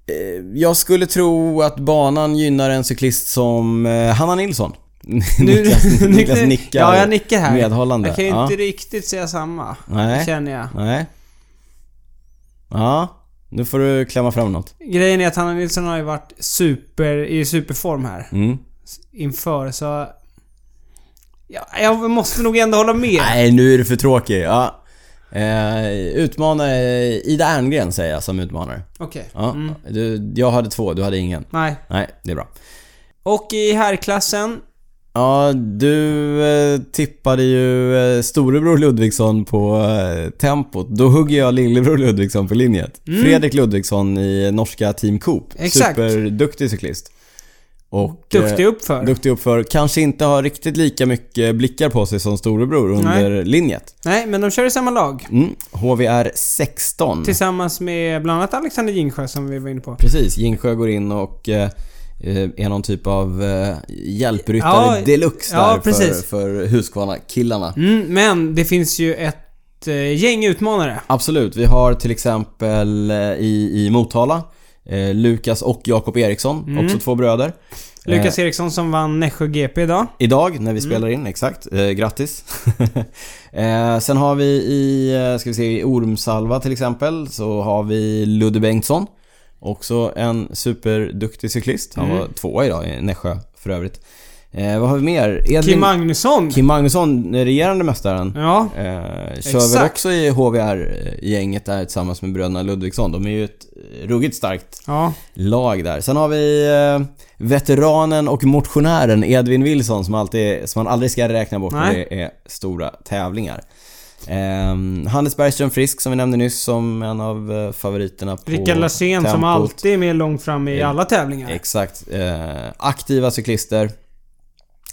Speaker 2: Eh, Jag skulle tro att banan gynnar en cyklist som eh, Hanna Nilsson. Niklas, Niklas nickar
Speaker 1: Ja, jag nickar här.
Speaker 2: medhållande.
Speaker 1: Jag kan ju
Speaker 2: Ja.
Speaker 1: inte riktigt säga samma.
Speaker 2: Nej,
Speaker 1: Känner jag.
Speaker 2: nej. Ja, nu får du klämma fram något.
Speaker 1: Grejen är att Hanna Nilsson har ju varit super, i superform här.
Speaker 2: Mm.
Speaker 1: Inför, så... Ja, jag måste nog ändå hålla med.
Speaker 2: Nej, nu är du för tråkig. Ja. Eh, utmanare, Ida Erngren säger jag som utmanare.
Speaker 1: Okej.
Speaker 2: Ja. Du, jag hade två, du hade ingen.
Speaker 1: Nej.
Speaker 2: Nej, det är bra.
Speaker 1: Och i herrklassen.
Speaker 2: Eh, Ja, du eh, tippade ju eh, storebror Ludvigsson på eh, tempot. Då hugger jag lillebror Ludvigsson på linjet. Fredrik Ludvigsson i norska Team Coop.
Speaker 1: Mm. Exakt.
Speaker 2: Superduktig cyklist. Och,
Speaker 1: Duktig
Speaker 2: eh,
Speaker 1: uppför.
Speaker 2: Duktig uppför. Kanske inte har riktigt lika mycket blickar på sig som storebror under linjet.
Speaker 1: Nej, men de kör i samma lag.
Speaker 2: Mm. HVR 16.
Speaker 1: Tillsammans med bland annat Alexander Gingsjö som vi var inne på.
Speaker 2: Precis, Gingsjö går in och eh, eh, är någon typ av eh, hjälpryttare
Speaker 1: Ja,
Speaker 2: deluxe
Speaker 1: ja,
Speaker 2: där för,
Speaker 1: precis.
Speaker 2: för Husqvarna-killarna.
Speaker 1: Mm, men det finns ju ett eh, gäng utmanare.
Speaker 2: Absolut. Vi har till exempel eh, i, i Motala eh, Lukas och Jakob Eriksson, också två bröder.
Speaker 1: Mm. Lukas Eriksson som vann Nässjö GP idag.
Speaker 2: Idag
Speaker 1: Mm.
Speaker 2: när vi spelar in, exakt. Eh, grattis. eh, sen har vi i, eh, ska vi se, i Ormsalva till exempel så har vi Ludde Bengtsson.
Speaker 1: Mm.
Speaker 2: Också en superduktig cyklist. Han var tvåa idag i Nässjö för övrigt. Eh, vad har vi mer?
Speaker 1: Kim Magnusson.
Speaker 2: Kim Magnusson, regerande mästaren.
Speaker 1: Ja.
Speaker 2: Eh, kör väl
Speaker 1: Exakt.
Speaker 2: också i HVR-gänget där tillsammans med bröderna Ludvigsson. De är ju ett ruggigt starkt
Speaker 1: Ja.
Speaker 2: lag där. Sen har vi eh, veteranen och motionären Edvin Wilson som, alltid, som man aldrig ska räkna bort när
Speaker 1: Nej.
Speaker 2: det är stora tävlingar. Eh, Hannes Bergström Frisk som vi nämnde nyss som en av eh, favoriterna på
Speaker 1: Rickard Lassén som
Speaker 2: tempot.
Speaker 1: alltid är med långt fram i alla tävlingar.
Speaker 2: Exakt. Eh, aktiva cyklister.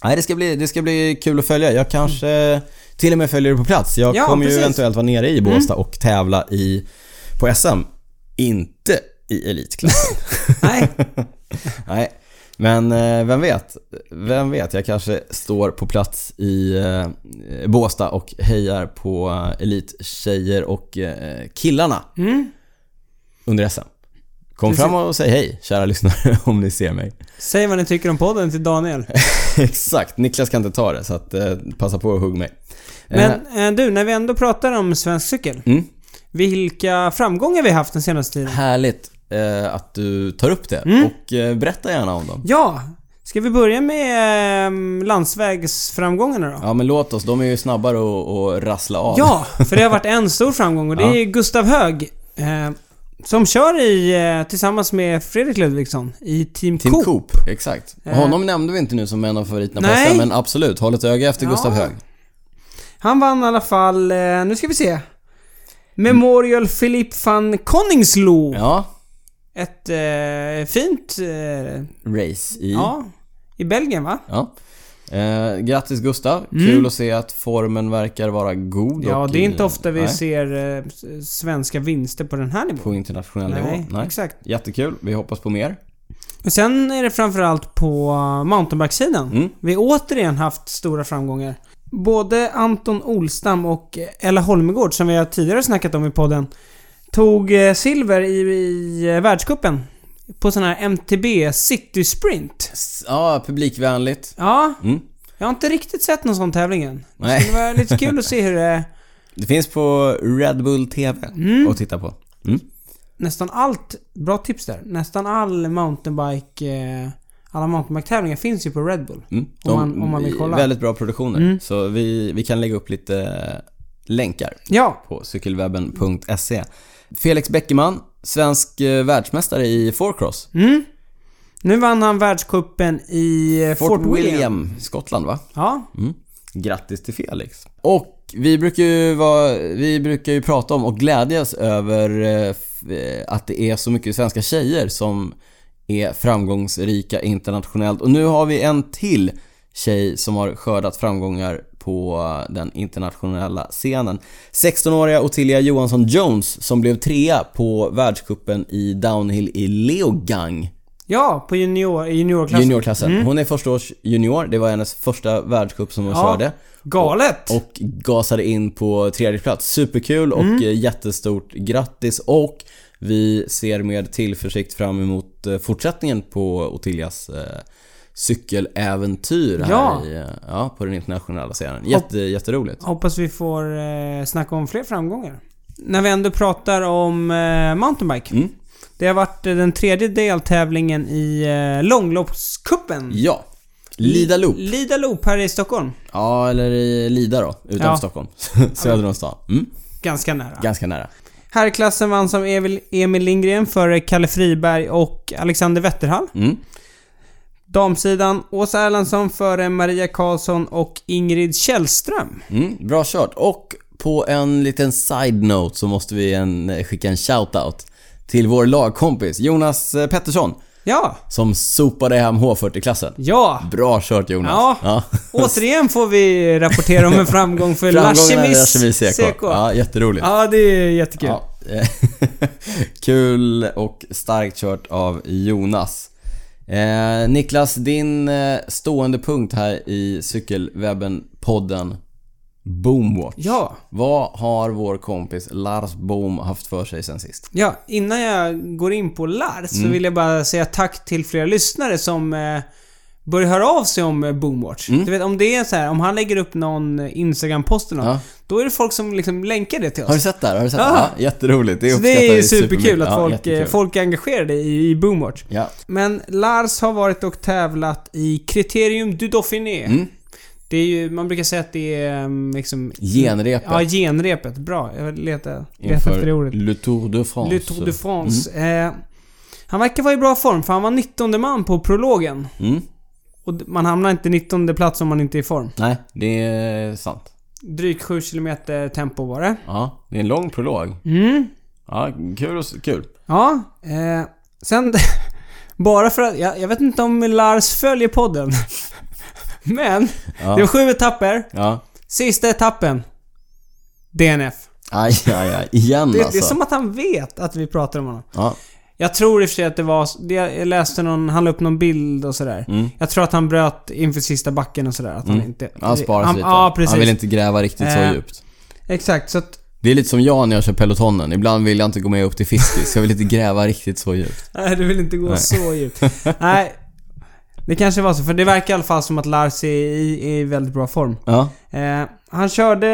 Speaker 2: Nej, det ska, bli, det ska bli kul att följa. Jag kanske eh, till och med följer det på plats. Jag
Speaker 1: Ja,
Speaker 2: kommer ju
Speaker 1: precis. Mm.
Speaker 2: eventuellt vara nere i Båstad och tävla i, på SM. Inte i elitklassen.
Speaker 1: Nej.
Speaker 2: Nej. Men eh, vem vet? Vem vet? Jag kanske står på plats i eh, Båstad och hejar på eh, elittjejer och eh, killarna
Speaker 1: Mm.
Speaker 2: under SM. Kom
Speaker 1: Precis.
Speaker 2: fram och säg hej, kära lyssnare, om ni ser mig.
Speaker 1: Säg vad ni tycker om podden till Daniel.
Speaker 2: Exakt, Niklas kan inte ta det så att, eh, passa på och hugg mig. Eh,
Speaker 1: Men eh, du, när vi ändå pratar om svensk cykel.
Speaker 2: Mm.
Speaker 1: Vilka framgångar vi haft den senaste tiden?
Speaker 2: härligt eh, att du tar upp det
Speaker 1: Mm.
Speaker 2: och eh, berätta gärna om dem.
Speaker 1: Ja! Ska vi börja med eh, landsvägsframgångarna då?
Speaker 2: Ja men låt oss, de är ju snabbare att- att rassla av.
Speaker 1: Ja, för det har varit en stor framgång och det
Speaker 2: Ja.
Speaker 1: är Gustav Hög. Eh, som kör i, eh, tillsammans med Fredrik Ludvigsson i Team,
Speaker 2: Tim
Speaker 1: Coop. Eh.
Speaker 2: Coop, exakt. Honom nämnde vi inte nu som en av favoriterna på
Speaker 1: Nej.
Speaker 2: SM, men absolut, håll ett öga efter
Speaker 1: Ja.
Speaker 2: Gustav Hög.
Speaker 1: Han vann i alla fall, eh, nu ska vi se. Memorial Philip van Conningslo.
Speaker 2: Ja,
Speaker 1: Ett eh, fint... Eh,
Speaker 2: race i...
Speaker 1: Ja. I Belgien va?
Speaker 2: Ja. Eh, grattis Gustav, kul att se att formen verkar vara god.
Speaker 1: Mm. Ja,
Speaker 2: och
Speaker 1: det är inte
Speaker 2: i-
Speaker 1: ofta vi
Speaker 2: nej,
Speaker 1: ser eh, s- svenska vinster på den här nivån.
Speaker 2: På internationell
Speaker 1: Nej,
Speaker 2: nivå. Nej,
Speaker 1: exakt.
Speaker 2: Jättekul, vi hoppas på mer.
Speaker 1: Och sen är det framförallt på mountainbikesidan.
Speaker 2: Mm.
Speaker 1: Vi har återigen haft stora framgångar. Både Anton Olstam och Ella Holmegård, som vi har tidigare snackat om i podden, tog eh, silver i, i eh, världscupen. På sån här MTB City Sprint.
Speaker 2: S- Ja, publikvänligt.
Speaker 1: Ja,
Speaker 2: Mm.
Speaker 1: jag har inte riktigt sett någon sån tävling än.
Speaker 2: Nej.
Speaker 1: Det skulle vara lite kul att se hur eh, det...
Speaker 2: Det finns på Red Bull TV att titta på. Mm.
Speaker 1: Nästan allt... Bra tips där. Nästan all mountainbike... eh, Alla mountainbike-tävlingar finns ju på Red Bull.
Speaker 2: Mm.
Speaker 1: Om man- om man vill kolla. Mm.
Speaker 2: Väldigt bra produktioner. Så vi, vi kan lägga upp lite länkar
Speaker 1: Ja,
Speaker 2: på cykelwebben.se. Felix Bäckeman, svensk eh, världsmästare i fourcross.
Speaker 1: nu vann han världscupen i eh,
Speaker 2: Fort, William. Skottland va?
Speaker 1: Ja,
Speaker 2: Mm. Grattis till Felix. Och vi brukar, ju vara, vi brukar ju prata om och glädjas över eh, f- eh, att det är så mycket svenska tjejer som är framgångsrika internationellt. Och nu har vi en till tjej som har skördat framgångar på eh, den internationella scenen. 16-åriga Ottilia Johansson Jones som blev trea på världscupen i downhill i Leogang
Speaker 1: ja på junior, i juniorklassen.
Speaker 2: juniorklassen. Hon är första års junior, det var hennes första världscup som hon
Speaker 1: Ja.
Speaker 2: körde.
Speaker 1: Galet!
Speaker 2: Och gasade in på tredje plats. Superkul och
Speaker 1: Mm.
Speaker 2: eh, jättestort grattis och vi ser med tillförsikt fram emot eh, fortsättningen på Otilias eh, cykeläventyr här
Speaker 1: Ja.
Speaker 2: i, eh, ja, på den internationella scenen. Jätte, jätteroligt.
Speaker 1: Hoppas vi får eh, snacka om fler framgångar. När vi ändå pratar om eh, mountainbike.
Speaker 2: Mm.
Speaker 1: Det har varit eh, den tredje deltävlingen i eh, långloppscupen.
Speaker 2: Ja. Lida Loop.
Speaker 1: Lida Loop här i Stockholm.
Speaker 2: Ja, eller i Lida då, utanför
Speaker 1: Ja.
Speaker 2: Stockholm. Söder om stan. Mm.
Speaker 1: Ganska nära.
Speaker 2: Ganska nära.
Speaker 1: Herrklassen vann som Emil- Emil Lindgren före Kalle Friberg och Alexander Wetterhall.
Speaker 2: Mm.
Speaker 1: Damsidan Åsa Erlandsson före Maria Karlsson och Ingrid Källström.
Speaker 2: Mm, bra kört. Och på en liten side-note så måste vi en, skicka en shout-out till vår lagkompis Jonas eh, Pettersson
Speaker 1: Ja,
Speaker 2: som sopade hem H40-klassen.
Speaker 1: ja.
Speaker 2: Bra kört Jonas.
Speaker 1: Ja. Återigen får vi rapportera om en framgång för
Speaker 2: Framgångarna i
Speaker 1: Lachemis
Speaker 2: Lachemis
Speaker 1: CK.
Speaker 2: CK. Ja, jätteroligt.
Speaker 1: Ja, det är jättekul.
Speaker 2: Ja. Kul och starkt kört av Jonas. Eh, Niklas, din eh, stående punkt här i Cykelwebben-podden Boomwatch.
Speaker 1: Ja.
Speaker 2: Vad har vår kompis Lars Boom haft för sig sen sist?
Speaker 1: Ja, innan jag går in på Lars
Speaker 2: Mm.
Speaker 1: så vill jag bara säga tack till flera lyssnare som eh,
Speaker 2: Mm.
Speaker 1: börjar höra av sig om eh, Boomwatch. Du vet, om det är så här, om han lägger upp någon Instagram-post eller något, Då är det folk som liksom länkar det till oss.
Speaker 2: Har du sett det här? Har du sett det?
Speaker 1: Ja.
Speaker 2: Ja, jätteroligt. Det
Speaker 1: Ah. Så
Speaker 2: uppskattar
Speaker 1: det är
Speaker 2: vi
Speaker 1: superkul
Speaker 2: supermycket.
Speaker 1: att
Speaker 2: Ja,
Speaker 1: folk,
Speaker 2: jättekul.
Speaker 1: eh, folk är engagerade i, i Boomwatch.
Speaker 2: Ja.
Speaker 1: Men Lars har varit och tävlat i Criterium du Dauphiné.
Speaker 2: Mm.
Speaker 1: Det är ju, man brukar säga att det är ehm, liksom...
Speaker 2: Genrepet
Speaker 1: Ja, genrepet. Bra. Jag letar, letar efter det
Speaker 2: inför
Speaker 1: ordet.
Speaker 2: Le Tour de France.
Speaker 1: Le Tour de France.
Speaker 2: Mm.
Speaker 1: Eh, han verkar vara i bra form för han var 19 man på prologen.
Speaker 2: Mm.
Speaker 1: Och d- man hamnar inte 19 plats om man inte är i form.
Speaker 2: Nej, det är sant.
Speaker 1: Drygt 7 km tempo var det.
Speaker 2: Ja, det är en lång prolog.
Speaker 1: Mm.
Speaker 2: Ja, kul och s- kul.
Speaker 1: Ja, eh, sen... bara för att... Jag, jag vet inte om Lars följer podden. Men,
Speaker 2: Ja.
Speaker 1: det var sju etapper.
Speaker 2: Ja.
Speaker 1: Sista etappen. DNF.
Speaker 2: Aj, aj, aj. Igen
Speaker 1: Det,
Speaker 2: alltså.
Speaker 1: det är som att han vet att vi pratar om honom.
Speaker 2: Ja.
Speaker 1: Jag tror i och för sig att det var... det- Jag läste någon... Han la upp någon bild och sådär.
Speaker 2: Mm.
Speaker 1: Jag tror att han bröt inför sista backen och sådär. Att han inte...
Speaker 2: Han sparar sig lite.
Speaker 1: Ja, precis.
Speaker 2: Han vill inte gräva riktigt så
Speaker 1: Eh.
Speaker 2: djupt.
Speaker 1: Exakt, så att...
Speaker 2: Det är lite som jag när jag kör Pelotonen. Ibland vill jag inte gå med upp till Fiskis. Jag vill inte gräva riktigt så djupt.
Speaker 1: Nej, du vill inte gå så djupt. nej. Det kanske var så, för det verkar i alla fall som att Lars är i, är i väldigt bra form.
Speaker 2: Ja.
Speaker 1: Eh, han körde...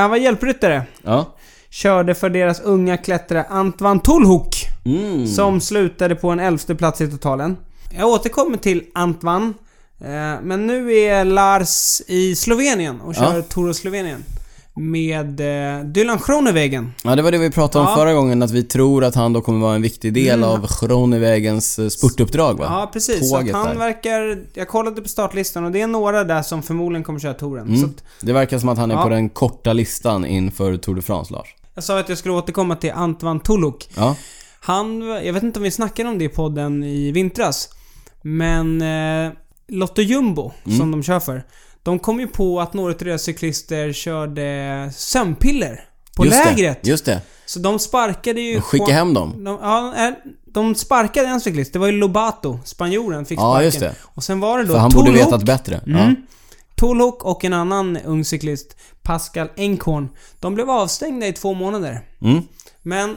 Speaker 1: Han var hjälpryttare.
Speaker 2: Ja.
Speaker 1: Körde för deras unga klättrare Antwan Tulhuk.
Speaker 2: Mm.
Speaker 1: Som slutade på en elfte plats i totalen. Jag återkommer till Antwan. Eh, men nu är Lars i Slovenien och kör
Speaker 2: Ja.
Speaker 1: Tour of Slovenien. Med eh, Dylan Schronevägen.
Speaker 2: Ja, det var det vi pratade om
Speaker 1: Ja. Mm.
Speaker 2: förra gången. Att vi tror att han då kommer vara en viktig del av Schronevägens eh, spurtuppdrag va?
Speaker 1: Ja, precis. Så att
Speaker 2: Tåget
Speaker 1: han
Speaker 2: där.
Speaker 1: verkar... Jag kollade på startlistan och det är några där som förmodligen kommer köra touren.
Speaker 2: Mm.
Speaker 1: Så att
Speaker 2: Det verkar som att han är
Speaker 1: Ja.
Speaker 2: på den korta listan inför Tour de France, Lars.
Speaker 1: jag sa att jag skulle återkomma till Antwan Tuluk.
Speaker 2: Ja.
Speaker 1: Han... Jag vet inte om vi snackade om det i podden i vintras. Men eh, Lotto Jumbo, som
Speaker 2: Mm.
Speaker 1: de kör för. De kom ju på att några av deras cyklister körde sömnpiller på
Speaker 2: Just
Speaker 1: lägret.
Speaker 2: Det. Just det.
Speaker 1: Så de sparkade ju...
Speaker 2: Skicka
Speaker 1: Juan-
Speaker 2: hem dem.
Speaker 1: De, ja, eh, de sparkade en cyklist. Det var ju Lobato, spanjoren, fick
Speaker 2: Ja,
Speaker 1: sparken.
Speaker 2: just det.
Speaker 1: Och sen var det då
Speaker 2: För han borde vetat bättre.
Speaker 1: Mm.
Speaker 2: Ja.
Speaker 1: Tolhok och en annan ung cyklist, Pascal Enkorn. De blev avstängda i två månader.
Speaker 2: Mm.
Speaker 1: Men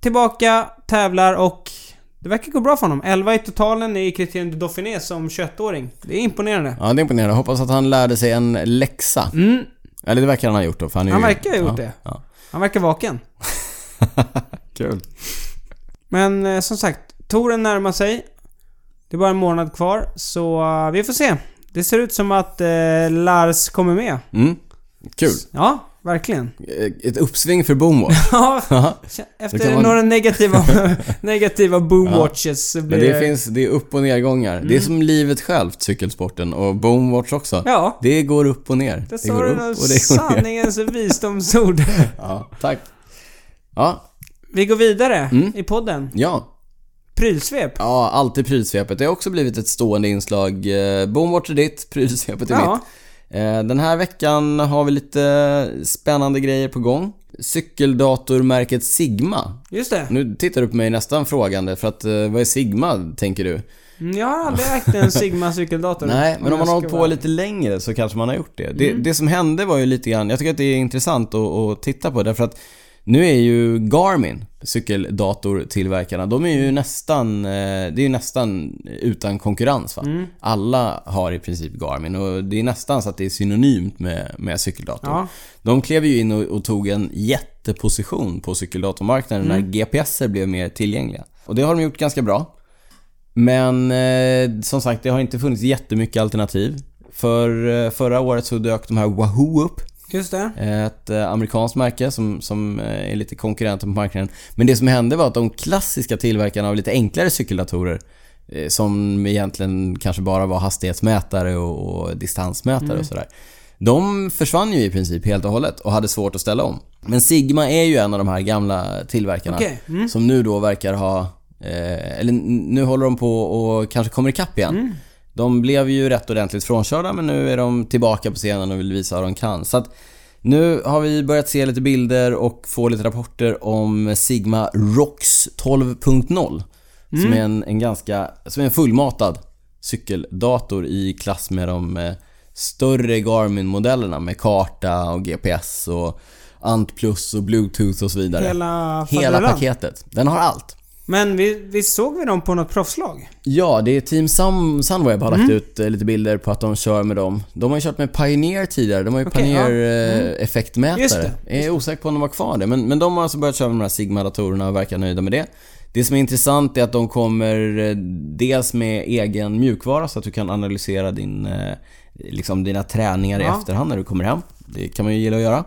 Speaker 1: tillbaka, tävlar och det verkar gå bra för honom. 11 i totalen i Criterium du Dauphiné som 21-åring. Det är imponerande.
Speaker 2: ja, det är imponerande. Hoppas att han lärde sig en läxa.
Speaker 1: Mm,
Speaker 2: Eller det verkar han ha gjort då, för han är
Speaker 1: Han
Speaker 2: ju...
Speaker 1: verkar ha gjort
Speaker 2: ja.
Speaker 1: det.
Speaker 2: Ja.
Speaker 1: han verkar vaken.
Speaker 2: Kul.
Speaker 1: Men eh, som sagt, touren närmar sig. Det är bara en månad kvar, så eh, vi får se. Det ser ut som att eh, Lars kommer med.
Speaker 2: Mm. Kul.
Speaker 1: Ja, verkligen.
Speaker 2: Eh, Ett uppsving för Boomwatch.
Speaker 1: Ja,
Speaker 2: Jaha. Det
Speaker 1: Efter
Speaker 2: kan man-
Speaker 1: några negativa, negativa boomwatches så blir
Speaker 2: Men det finns, det är upp och nedgångar. Det är som livet självt, cykelsporten och Boomwatch också.
Speaker 1: Mm. Ja,
Speaker 2: Det går upp och ner.
Speaker 1: det
Speaker 2: går
Speaker 1: sa du
Speaker 2: upp
Speaker 1: någon
Speaker 2: och det går ner.
Speaker 1: sanningens visdomsord.
Speaker 2: Ja, tack. Ja,
Speaker 1: Vi går vidare
Speaker 2: Mm.
Speaker 1: i podden.
Speaker 2: ja.
Speaker 1: Prylsvep.
Speaker 2: Ja, alltid prylsvepet. Det har också blivit ett stående inslag. Eh, Boomwatch är ditt, prylsvepet är
Speaker 1: Ja.
Speaker 2: mitt. Eh, Den här veckan har vi lite spännande grejer på gång. Cykeldatormärket Sigma.
Speaker 1: Just det.
Speaker 2: Nu tittar du på mig nästan frågande för att eh, vad är Sigma, tänker du?
Speaker 1: Mm, Jag har aldrig ägt en Sigma cykeldator.
Speaker 2: Nej, men
Speaker 1: jag
Speaker 2: om man har
Speaker 1: ska
Speaker 2: hållit på
Speaker 1: vara-
Speaker 2: lite längre så kanske man har gjort det. Det, det som hände var ju lite grann, jag tycker att det är intressant att, att titta på därför att nu är ju Garmin, cykeldatortillverkarna, de är ju nästan, eh, det är ju nästan utan konkurrens va? Alla har i princip Garmin och det är nästan så att det är synonymt med, med cykeldator.
Speaker 1: Ja.
Speaker 2: De klev ju in och, och tog en jätteposition på cykeldatormarknaden när GPSer blev mer tillgängliga. Och det har de gjort ganska bra. Men eh, som sagt, det har inte funnits jättemycket alternativ. För eh, förra året så dök de här Wahoo upp.
Speaker 1: Just det.
Speaker 2: Ett eh, amerikanskt märke som, som eh, är lite konkurrenter på marknaden. Men det som hände var att de klassiska tillverkarna av lite enklare cykeldatorer eh, som egentligen kanske bara var hastighetsmätare och, och distansmätare och sådär. De försvann ju i princip helt och hållet och hade svårt att ställa om. Men Sigma är ju en av de här gamla tillverkarna
Speaker 1: Okej,
Speaker 2: som nu då verkar ha... Eh, eller n- nu håller de på och kanske kommer ikapp igen. De blev ju rätt ordentligt frånkörda men nu är de tillbaka på scenen och vill visa vad de kan. Så att nu har vi börjat se lite bilder och få lite rapporter om Sigma ROX 12.0. Som är en, en ganska, som är en fullmatad cykeldator i klass med de eh, större Garmin-modellerna med karta och GPS och Ant Plus och Bluetooth och så vidare.
Speaker 1: Hela
Speaker 2: Hela
Speaker 1: faderullan.
Speaker 2: paketet. Den har allt.
Speaker 1: Men vi, vi såg vi dem på något proffslag?
Speaker 2: Ja, det är Team Sun, Sunweb har
Speaker 1: Mm.
Speaker 2: lagt ut eh, lite bilder på att de kör med dem. De har ju kört med Pioneer tidigare. De har ju
Speaker 1: Okej,
Speaker 2: Pioneer
Speaker 1: ja. Mm.
Speaker 2: eh, effektmätare.
Speaker 1: Just det,
Speaker 2: Jag är osäker på om de var kvar det. Men, men de har alltså börjat köra med de här Sigma-datorerna och verkar nöjda med det. Det som är intressant är att de kommer eh, dels med egen mjukvara så att du kan analysera din, eh, liksom dina träningar i
Speaker 1: Ja. Mm.
Speaker 2: efterhand när du kommer hem. Det kan man ju gilla att göra.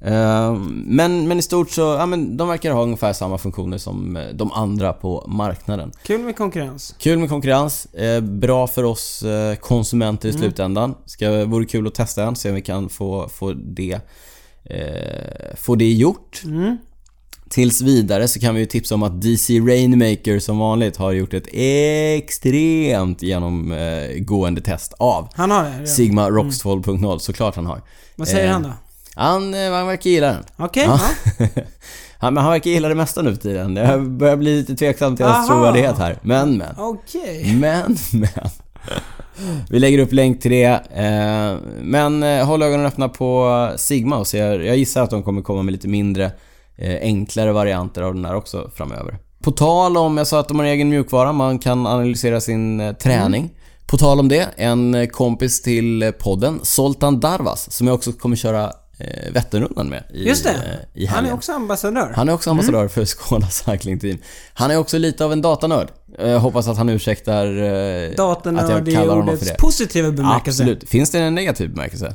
Speaker 2: Eh, Men, men i stort så, ja, men de verkar ha ungefär samma funktioner som eh, de andra på marknaden.
Speaker 1: Kul med konkurrens.
Speaker 2: Kul med konkurrens, eh, bra för oss eh, konsumenter i
Speaker 1: Mm.
Speaker 2: slutändan. Ska, vore kul att testa en, se om vi kan få, få, det, eh, få det gjort.
Speaker 1: Mm.
Speaker 2: Tills vidare så kan vi ju tipsa om att DC Rainmaker som vanligt har gjort ett extremt genomgående test av
Speaker 1: Han har det? Ja. Mm.
Speaker 2: Sigma Rocks 12.0, såklart han har.
Speaker 1: Vad säger
Speaker 2: Eh,
Speaker 1: han då?
Speaker 2: Han, eh, han verkar gilla den.
Speaker 1: Okej?
Speaker 2: Ja.
Speaker 1: ja.
Speaker 2: han, men han verkar gilla det mesta nu för tiden. Jag börjar bli lite tveksam till hans
Speaker 1: Aha.
Speaker 2: trovärdighet här. Men, men.
Speaker 1: Okej.
Speaker 2: Men, men. Vi lägger upp länk till det. eh, Men eh, håll ögonen öppna på Sigma och se. Jag gissar att de kommer komma med lite mindre eh, enklare varianter av den här också framöver. På tal om, jag sa att de har egen mjukvara, man kan analysera sin eh, träning.
Speaker 1: Mm.
Speaker 2: På tal om det, en eh, kompis till eh, podden, Zoltan Darvas, som jag också kommer köra eh, Vätternrundan med i,
Speaker 1: Just det.
Speaker 2: eh, i
Speaker 1: han
Speaker 2: helgen.
Speaker 1: är också ambassadör.
Speaker 2: Han är också ambassadör för Skåne Cycling Team. Han är också lite av en datanörd. Jag hoppas att han ursäktar eh, att jag
Speaker 1: Datanörd i
Speaker 2: kallar honom för det.
Speaker 1: ordets positiva bemärkelse.
Speaker 2: Absolut. Finns det en negativ bemärkelse?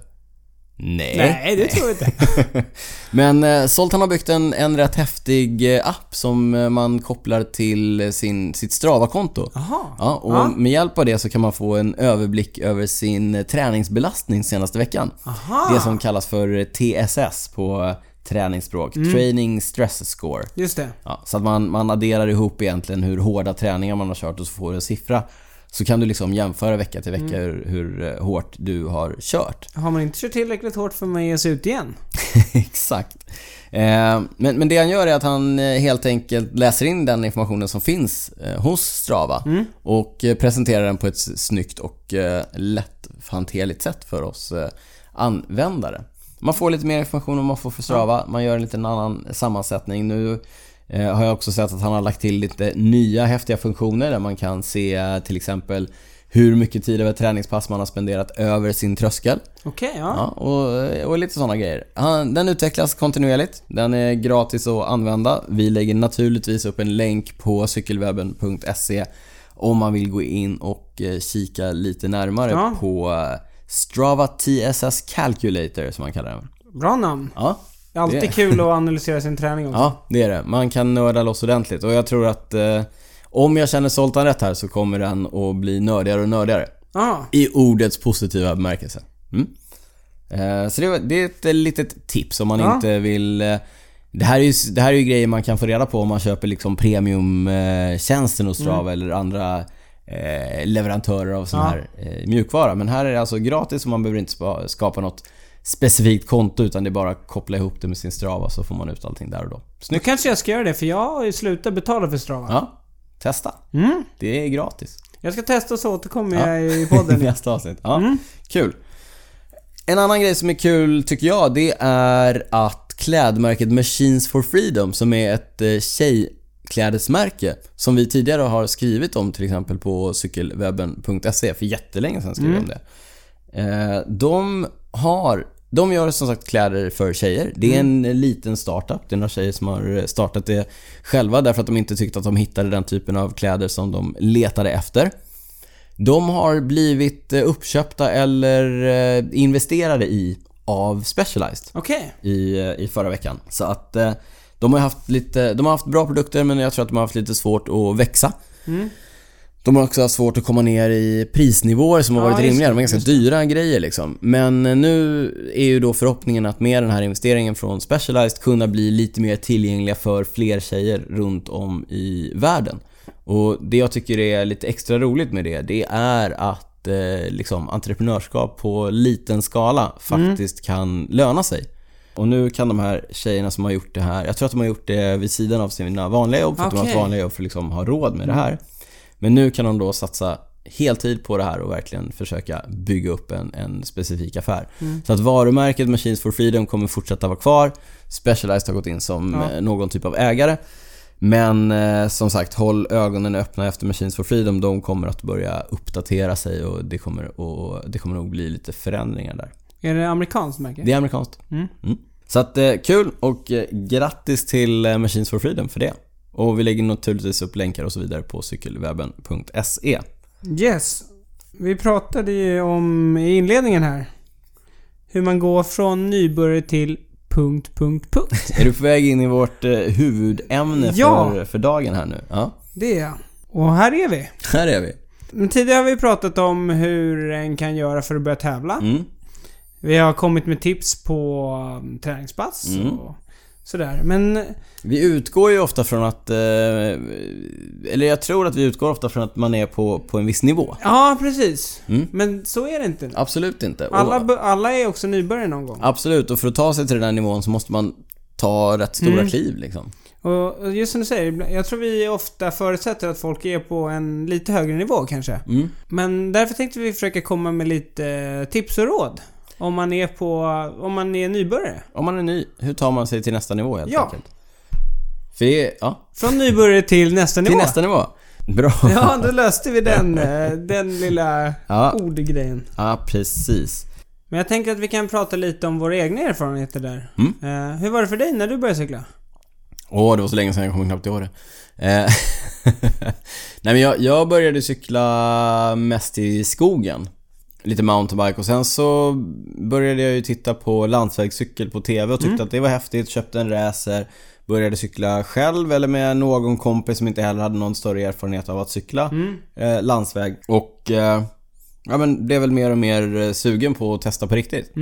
Speaker 2: Nej.
Speaker 1: Nej, det tror jag inte.
Speaker 2: Men eh, Zoltan har byggt en, en rätt häftig eh, app som eh, man kopplar till eh, sin, sitt Strava-konto.
Speaker 1: Jaha.
Speaker 2: Ja, och
Speaker 1: Ja.
Speaker 2: med hjälp av det så kan man få en överblick över sin eh, träningsbelastning senaste veckan.
Speaker 1: Aha.
Speaker 2: Det som kallas för eh, TSS på eh, träningsspråk.
Speaker 1: Mm.
Speaker 2: Training Stress Score.
Speaker 1: Just det.
Speaker 2: Ja, så att man, man adderar ihop egentligen hur hårda träningar man har kört och så får du en siffra. Så kan du liksom jämföra vecka till vecka hur, hur eh, hårt du har kört.
Speaker 1: Har man inte kört tillräckligt hårt för man ger sig ut igen?
Speaker 2: Exakt. Eh, men, men det han gör är att han eh, helt enkelt läser in den informationen som finns eh, hos Strava och eh, presenterar den på ett s- snyggt och eh, lätthanterligt sätt för oss eh, användare. Man får lite mer information om man får för Strava. Man gör en liten annan sammansättning. Nu eh, har jag också sett att han har lagt till lite nya häftiga funktioner där man kan se eh, till exempel hur mycket tid över ett träningspass man har spenderat över sin tröskel.
Speaker 1: Okej, ja.
Speaker 2: Ja, och, och lite sådana grejer. Han, den utvecklas kontinuerligt. Den är gratis att använda. Vi lägger naturligtvis upp en länk på cykelwebben.se om man vill gå in och eh, kika lite närmare
Speaker 1: Ja.
Speaker 2: på eh, Strava TSS Calculator som man kallar den.
Speaker 1: Bra namn.
Speaker 2: Ja,
Speaker 1: Det är alltid
Speaker 2: Det-
Speaker 1: kul att analysera sin träning också.
Speaker 2: ja, det är det. Man kan nörda loss ordentligt och jag tror att eh, om jag känner Zoltan rätt här så kommer den att bli nördigare och nördigare.
Speaker 1: Ja.
Speaker 2: I ordets positiva bemärkelse. Mm. Eh, Så det, var, det är ett eh, litet tips om man
Speaker 1: Ja.
Speaker 2: inte vill... eh, Det här, är ju, s- det här är ju grejer man kan få reda på om man köper liksom premiumtjänsten hos Strava eller andra eh, leverantörer av sån
Speaker 1: Mm. Ja.
Speaker 2: här eh, mjukvara. Men här är det alltså gratis och man behöver inte spa- skapa något specifikt konto utan det är bara att koppla ihop det med sin Strava så får man ut allting där och då.
Speaker 1: Nu
Speaker 2: Snyggt!
Speaker 1: kanske jag ska göra det för jag har ju slutat betala för Strava.
Speaker 2: Ja, testa!
Speaker 1: Mm.
Speaker 2: Det är gratis.
Speaker 1: Jag ska testa så återkommer
Speaker 2: Ja.
Speaker 1: jag i podden.
Speaker 2: I nästa avsnitt. Ja, kul. En annan grej som är kul tycker jag, det är att klädmärket Machines for Freedom som är ett eh, tjejklädesmärke som vi tidigare har skrivit om till exempel på cykelwebben.se för jättelänge sedan skrev vi om det. Eh, De har de gör som sagt kläder för tjejer. Det är en liten startup. Det är några tjejer som har eh, startat det själva därför att de inte tyckte att de hittade den typen av kläder som de letade efter. De har blivit eh, uppköpta eller eh, investerade i av Specialized
Speaker 1: Okej.
Speaker 2: i, eh, i förra veckan. Så att eh, de har haft lite, de har haft bra produkter men jag tror att de har haft lite svårt att växa.
Speaker 1: Mm.
Speaker 2: De har också haft svårt att komma ner i prisnivåer som har
Speaker 1: Ja,
Speaker 2: varit
Speaker 1: just
Speaker 2: rimliga. De är ganska dyra grejer liksom. Men eh, nu är ju då förhoppningen att med den här investeringen från Specialized kunna bli lite mer tillgängliga för fler tjejer runt om i världen. Och det jag tycker är lite extra roligt med det, det är att eh, liksom, entreprenörskap på liten skala
Speaker 1: Mm.
Speaker 2: faktiskt kan löna sig. Och nu kan de här tjejerna som har gjort det här, jag tror att de har gjort det vid sidan av sina vanliga jobb för att de har
Speaker 1: Okej.
Speaker 2: ett vanliga jobb för att liksom ha råd med det här. Men nu kan de då satsa heltid på det här och verkligen försöka bygga upp en, en specifik affär. Så att varumärket Machines for Freedom kommer fortsätta vara kvar. Specialized har gått in som eh, någon typ av ägare. Men eh, som sagt, håll ögonen öppna efter Machines for Freedom. De kommer att börja uppdatera sig och det kommer, och det kommer nog bli lite förändringar där.
Speaker 1: Är det amerikanskt märke?
Speaker 2: Det är amerikanskt.
Speaker 1: Mm.
Speaker 2: Så att eh, kul och eh, grattis till eh, Machines for Freedom för det. Och vi lägger naturligtvis upp länkar och så vidare på cykelwebben.se.
Speaker 1: Yes. Vi pratade ju om i inledningen här. Hur man går från nybörjare till punkt, punkt, punkt.
Speaker 2: Är du på väg in i vårt eh, huvudämne
Speaker 1: Ja.
Speaker 2: för, för dagen här nu? Ja,
Speaker 1: Det är jag. Och här är vi.
Speaker 2: här är vi.
Speaker 1: Men tidigare har vi pratat om hur en kan göra för att börja tävla.
Speaker 2: Mm.
Speaker 1: Vi har kommit med tips på um, träningspass
Speaker 2: Mm.
Speaker 1: och sådär. Men
Speaker 2: Vi utgår ju ofta från att... eh, Eller jag tror att vi utgår ofta från att man är på, på en viss nivå.
Speaker 1: ja, precis.
Speaker 2: Mm.
Speaker 1: Men så är det inte.
Speaker 2: Absolut inte. Och-
Speaker 1: Alla, bö- alla är också nybörjare någon gång.
Speaker 2: Absolut, och för att ta sig till den här nivån så måste man ta rätt stora
Speaker 1: Mm.
Speaker 2: kliv liksom.
Speaker 1: Och och just som du säger, ibland- jag tror vi ofta förutsätter att folk är på en lite högre nivå kanske.
Speaker 2: Mm.
Speaker 1: Men därför tänkte vi försöka komma med lite eh, tips och råd. Om man är på, om man är nybörjare.
Speaker 2: Om man är ny, hur tar man sig till nästa nivå helt
Speaker 1: Ja.
Speaker 2: enkelt? För det är, ja,
Speaker 1: Från nybörjare till nästa
Speaker 2: till
Speaker 1: nivå.
Speaker 2: nästa nivå. Bra.
Speaker 1: Ja, då löste vi den, eh, den lilla
Speaker 2: Ja.
Speaker 1: ordgrejen.
Speaker 2: ja, precis.
Speaker 1: Men jag tänker att vi kan prata lite om våra egna erfarenheter där.
Speaker 2: Mm.
Speaker 1: Eh, hur var det för dig när du började cykla?
Speaker 2: Åh, det var så länge sedan jag kommer knappt ihåg det. Eh, Nej men jag, jag började cykla mest i skogen. Lite mountainbike och sen så började jag ju titta på landsvägscykel på TV och tyckte att det var häftigt. Köpte en racer. Började cykla själv eller med någon kompis som inte heller hade någon större erfarenhet av att cykla eh, landsväg. Och eh, ja, men blev väl mer och mer eh, sugen på att testa på riktigt.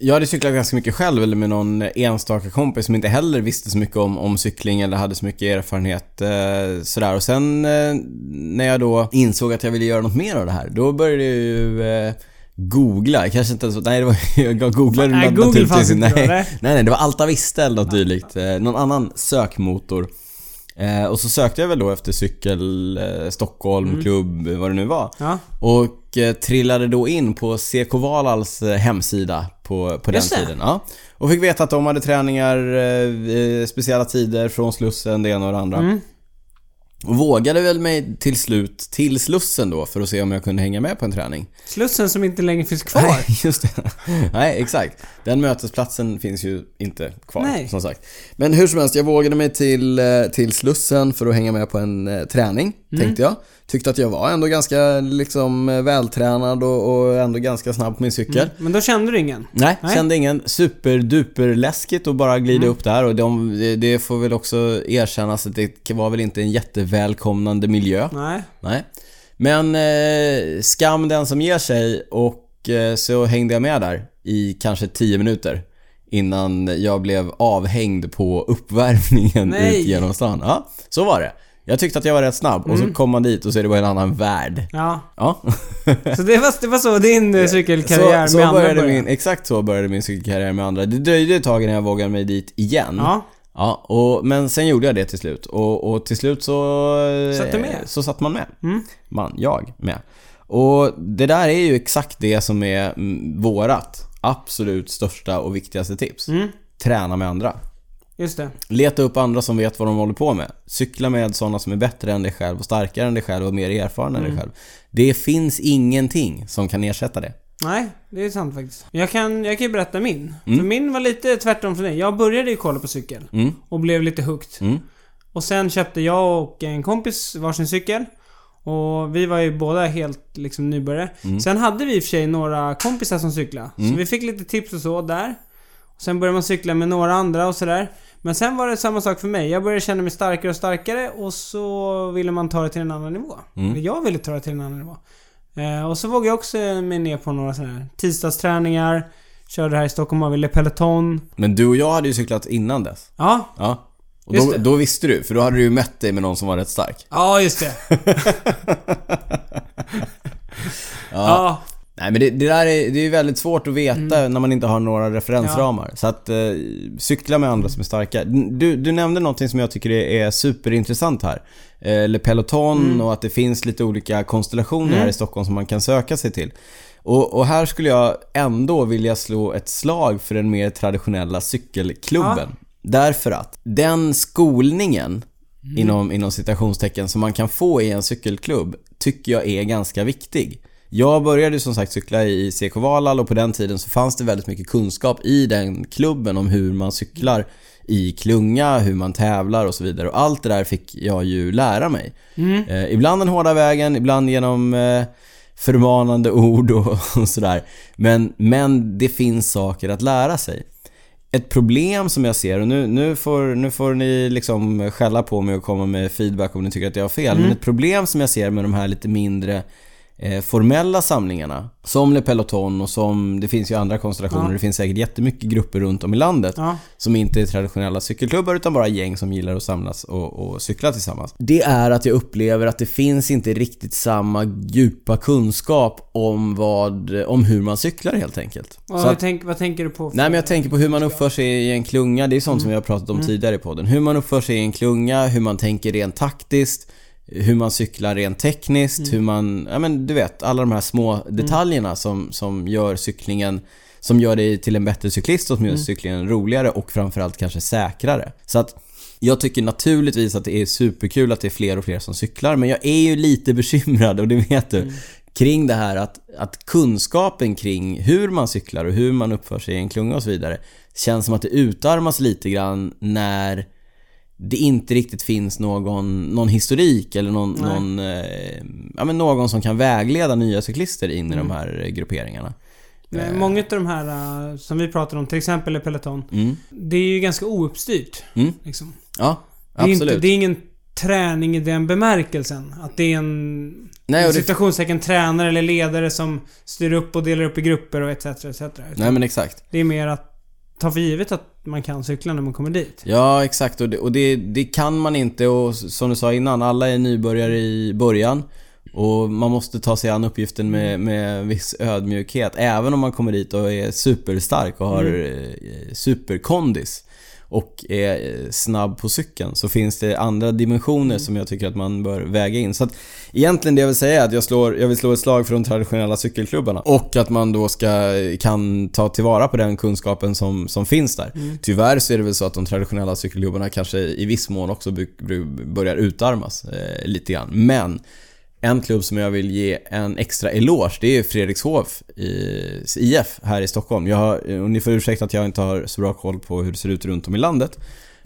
Speaker 2: Jag hade cyklat ganska mycket själv eller med någon enstaka kompis som inte heller visste så mycket om, om cykling eller hade så mycket erfarenhet eh, sådär. Och sen eh, när jag då insåg att jag ville göra något mer av det här, då började jag ju eh, googla. Jag Kanske inte ens... Nej, det var, jag googlade
Speaker 1: Nej,
Speaker 2: nat-
Speaker 1: Google
Speaker 2: naturligtvis
Speaker 1: fanns inte då,
Speaker 2: nej,
Speaker 1: eller?
Speaker 2: nej, nej, det var Alta Vista eller något dylikt. Eh, någon annan sökmotor. Eh, och så sökte jag väl då efter cykel, eh, Stockholm,
Speaker 1: Mm.
Speaker 2: klubb, vad det nu var.
Speaker 1: Ja.
Speaker 2: Och eh, trillade då in på CK Valals eh, hemsida på, på den
Speaker 1: Just det.
Speaker 2: tiden. Ja. Och fick veta att de hade träningar, eh, eh, speciella tider från Slussen, det ena och det andra.
Speaker 1: Mm.
Speaker 2: Och vågade väl mig till slut till Slussen då för att se om jag kunde hänga med på en träning.
Speaker 1: Slussen som inte längre finns kvar.
Speaker 2: Nej, just det. Nej, exakt. Den mötesplatsen finns ju inte kvar,
Speaker 1: Nej.
Speaker 2: som sagt. Men hur som helst, jag vågade mig till, eh, till Slussen för att hänga med på en eh, träning,
Speaker 1: Mm.
Speaker 2: tänkte jag. Tyckte att jag var ändå ganska liksom, eh, vältränad och, och ändå ganska snabb på min cykel.
Speaker 1: Men då kände du ingen?
Speaker 2: Nej,
Speaker 1: Mm. Nej. Mm.
Speaker 2: kände ingen superduper läskigt att bara glida upp där och de, det- det får väl också erkännas att det var väl inte en jättevälkomnande miljö.
Speaker 1: Nej.
Speaker 2: Nej. Men eh, skam den som ger sig och eh, så hängde jag med där i kanske 10 minuter. Innan jag blev avhängd på uppvärmningen
Speaker 1: Nej.
Speaker 2: ut genom stan. Ja, så var det. Jag tyckte att jag var rätt snabb och
Speaker 1: Mm.
Speaker 2: så kom man dit och så är det bara en annan värld.
Speaker 1: Ja.
Speaker 2: Ja.
Speaker 1: Så det var, det var så din eh, cykelkarriär
Speaker 2: så, så
Speaker 1: med andra
Speaker 2: började
Speaker 1: började.
Speaker 2: min, Exakt så började min cykelkarriär med andra. Det dröjde ett tag innan jag vågade mig dit igen.
Speaker 1: Ja.
Speaker 2: Ja, och, men sen gjorde jag det till slut. Och, och till slut så...
Speaker 1: Satt du med? Mm.
Speaker 2: eh, Så satt man med. Man, jag med. Och det där är ju exakt det som är mm, vårat absolut största och viktigaste tips.
Speaker 1: Mm.
Speaker 2: Träna med andra.
Speaker 1: Just det.
Speaker 2: Leta upp andra som vet vad de håller på med. Cykla med sådana som är bättre än dig själv och starkare än dig själv och mer erfarna än
Speaker 1: Mm.
Speaker 2: dig själv. Det finns ingenting som kan ersätta det.
Speaker 1: Nej, det är sant faktiskt. Jag kan, jag kan ju berätta min. För min var lite tvärtom från dig. Jag började ju kolla på cykel.
Speaker 2: Mm.
Speaker 1: Och blev lite hooked.
Speaker 2: Mm.
Speaker 1: Och sen köpte jag och en kompis varsin cykel. Och vi var ju båda helt liksom nybörjare.
Speaker 2: Mm.
Speaker 1: Sen hade vi i och för sig några kompisar som cyklade. Så vi fick lite tips och så där. Och sen började man cykla med några andra och sådär. Men sen var det samma sak för mig. Jag började känna mig starkare och starkare och så ville man ta det till en annan nivå.
Speaker 2: Mm.
Speaker 1: Eller jag ville ta det till en annan nivå. Eh, och så vågade jag också mig ner på några sådana här tisdagsträningar. Körde här i Stockholm, man ville peloton.
Speaker 2: Men du och jag hade ju cyklat innan dess.
Speaker 1: Ja,
Speaker 2: Ja. Och
Speaker 1: Just
Speaker 2: då,
Speaker 1: det.
Speaker 2: då visste du, för då hade du ju mätt dig med någon som var rätt stark.
Speaker 1: ja just det. ja. ja.
Speaker 2: Nej men det, det där är, det är ju väldigt svårt att veta när man inte har några referensramar. Så att eh, cykla med andra som är starka. Du, du nämnde någonting som jag tycker är, är superintressant här. Eh, Eller peloton och att det finns lite olika konstellationer här i Stockholm som man kan söka sig till. Och, och här skulle jag ändå vilja slå ett slag för den mer traditionella cykelklubben. Därför att den skolningen inom, inom citationstecken, som man kan få i en cykelklubb, tycker jag är ganska viktig. Jag började ju som sagt cykla i CK Valhall och på den tiden så fanns det väldigt mycket kunskap i den klubben om hur man cyklar i klunga, hur man tävlar och så vidare. Och allt det där fick jag ju lära mig. Eh, ibland den hårda vägen, ibland genom eh, förmanande ord och, och sådär. Men, men det finns saker att lära sig. Ett problem som jag ser, och nu, nu, får, nu får ni liksom skälla på mig och komma med feedback om ni tycker att jag har fel.
Speaker 1: Mm.
Speaker 2: Men ett problem som jag ser med de här lite mindre eh, formella samlingarna. Som Le Peloton och som, det finns ju andra konstellationer.
Speaker 1: Ja.
Speaker 2: Det finns säkert jättemycket grupper runt om i landet
Speaker 1: Ja.
Speaker 2: som inte är traditionella cykelklubbar utan bara gäng som gillar att samlas och, och cykla tillsammans. Det är att jag upplever att det finns inte riktigt samma djupa kunskap om, vad, om hur man cyklar helt enkelt.
Speaker 1: Vad,
Speaker 2: Så att,
Speaker 1: tänk, vad tänker du på? för-
Speaker 2: nej men jag tänker på hur man uppför sig i en klunga, det är sånt som vi har pratat om tidigare i podden. Hur man uppför sig i en klunga, hur man tänker rent taktiskt, hur man cyklar rent tekniskt, hur man, ja men du vet, alla de här små detaljerna som, som gör cyklingen som gör dig till en bättre cyklist och som gör cyklingen roligare och framförallt kanske säkrare. Så att jag tycker naturligtvis att det är superkul att det är fler och fler som cyklar men jag är ju lite bekymrad och det vet
Speaker 1: Mm.
Speaker 2: du kring det här att, att kunskapen kring hur man cyklar och hur man uppför sig i en klunga och så vidare känns som att det utarmas lite grann när det inte riktigt finns någon, någon historik eller någon,
Speaker 1: Nej.
Speaker 2: någon, eh, ja, men någon som kan vägleda nya cyklister in i
Speaker 1: Mm.
Speaker 2: de här eh, grupperingarna.
Speaker 1: Men Eh, Många av de här eh, som vi pratar om, till exempel Le Peloton.
Speaker 2: Mm.
Speaker 1: Det är ju ganska ouppstyrt.
Speaker 2: Mm.
Speaker 1: Liksom.
Speaker 2: Ja,
Speaker 1: Det, är
Speaker 2: absolut.
Speaker 1: inte, det är ingen träning i den bemärkelsen. Att det är en
Speaker 2: Nej, och det-
Speaker 1: citationstecken tränare eller ledare som styr upp och delar upp i grupper och etc. etc.
Speaker 2: Nej men exakt.
Speaker 1: Det är mer att ta för givet att man kan cykla när man kommer dit.
Speaker 2: Ja exakt och, det, och det, det kan man inte och s- som du sa innan, alla är nybörjare i början. Och man måste ta sig an uppgiften med, med viss ödmjukhet. Även om man kommer dit och är superstark och har eh, superkondis. Och är eh, snabb på cykeln. Så finns det andra dimensioner som jag tycker att man bör väga in. Så att egentligen det jag vill säga är att jag, slår, jag vill slå ett slag för de traditionella cykelklubbarna. Och att man då ska, kan ta tillvara på den kunskapen som, som finns där. Tyvärr så är det väl så att de traditionella cykelklubbarna kanske i viss mån också bu- bu- börjar utarmas eh, lite grann. Men en klubb som jag vill ge en extra eloge, det är Fredrikshof i- IF här i Stockholm. Jag har, eh, och ni får ursäkta att jag inte har så bra koll på hur det ser ut runt om i landet.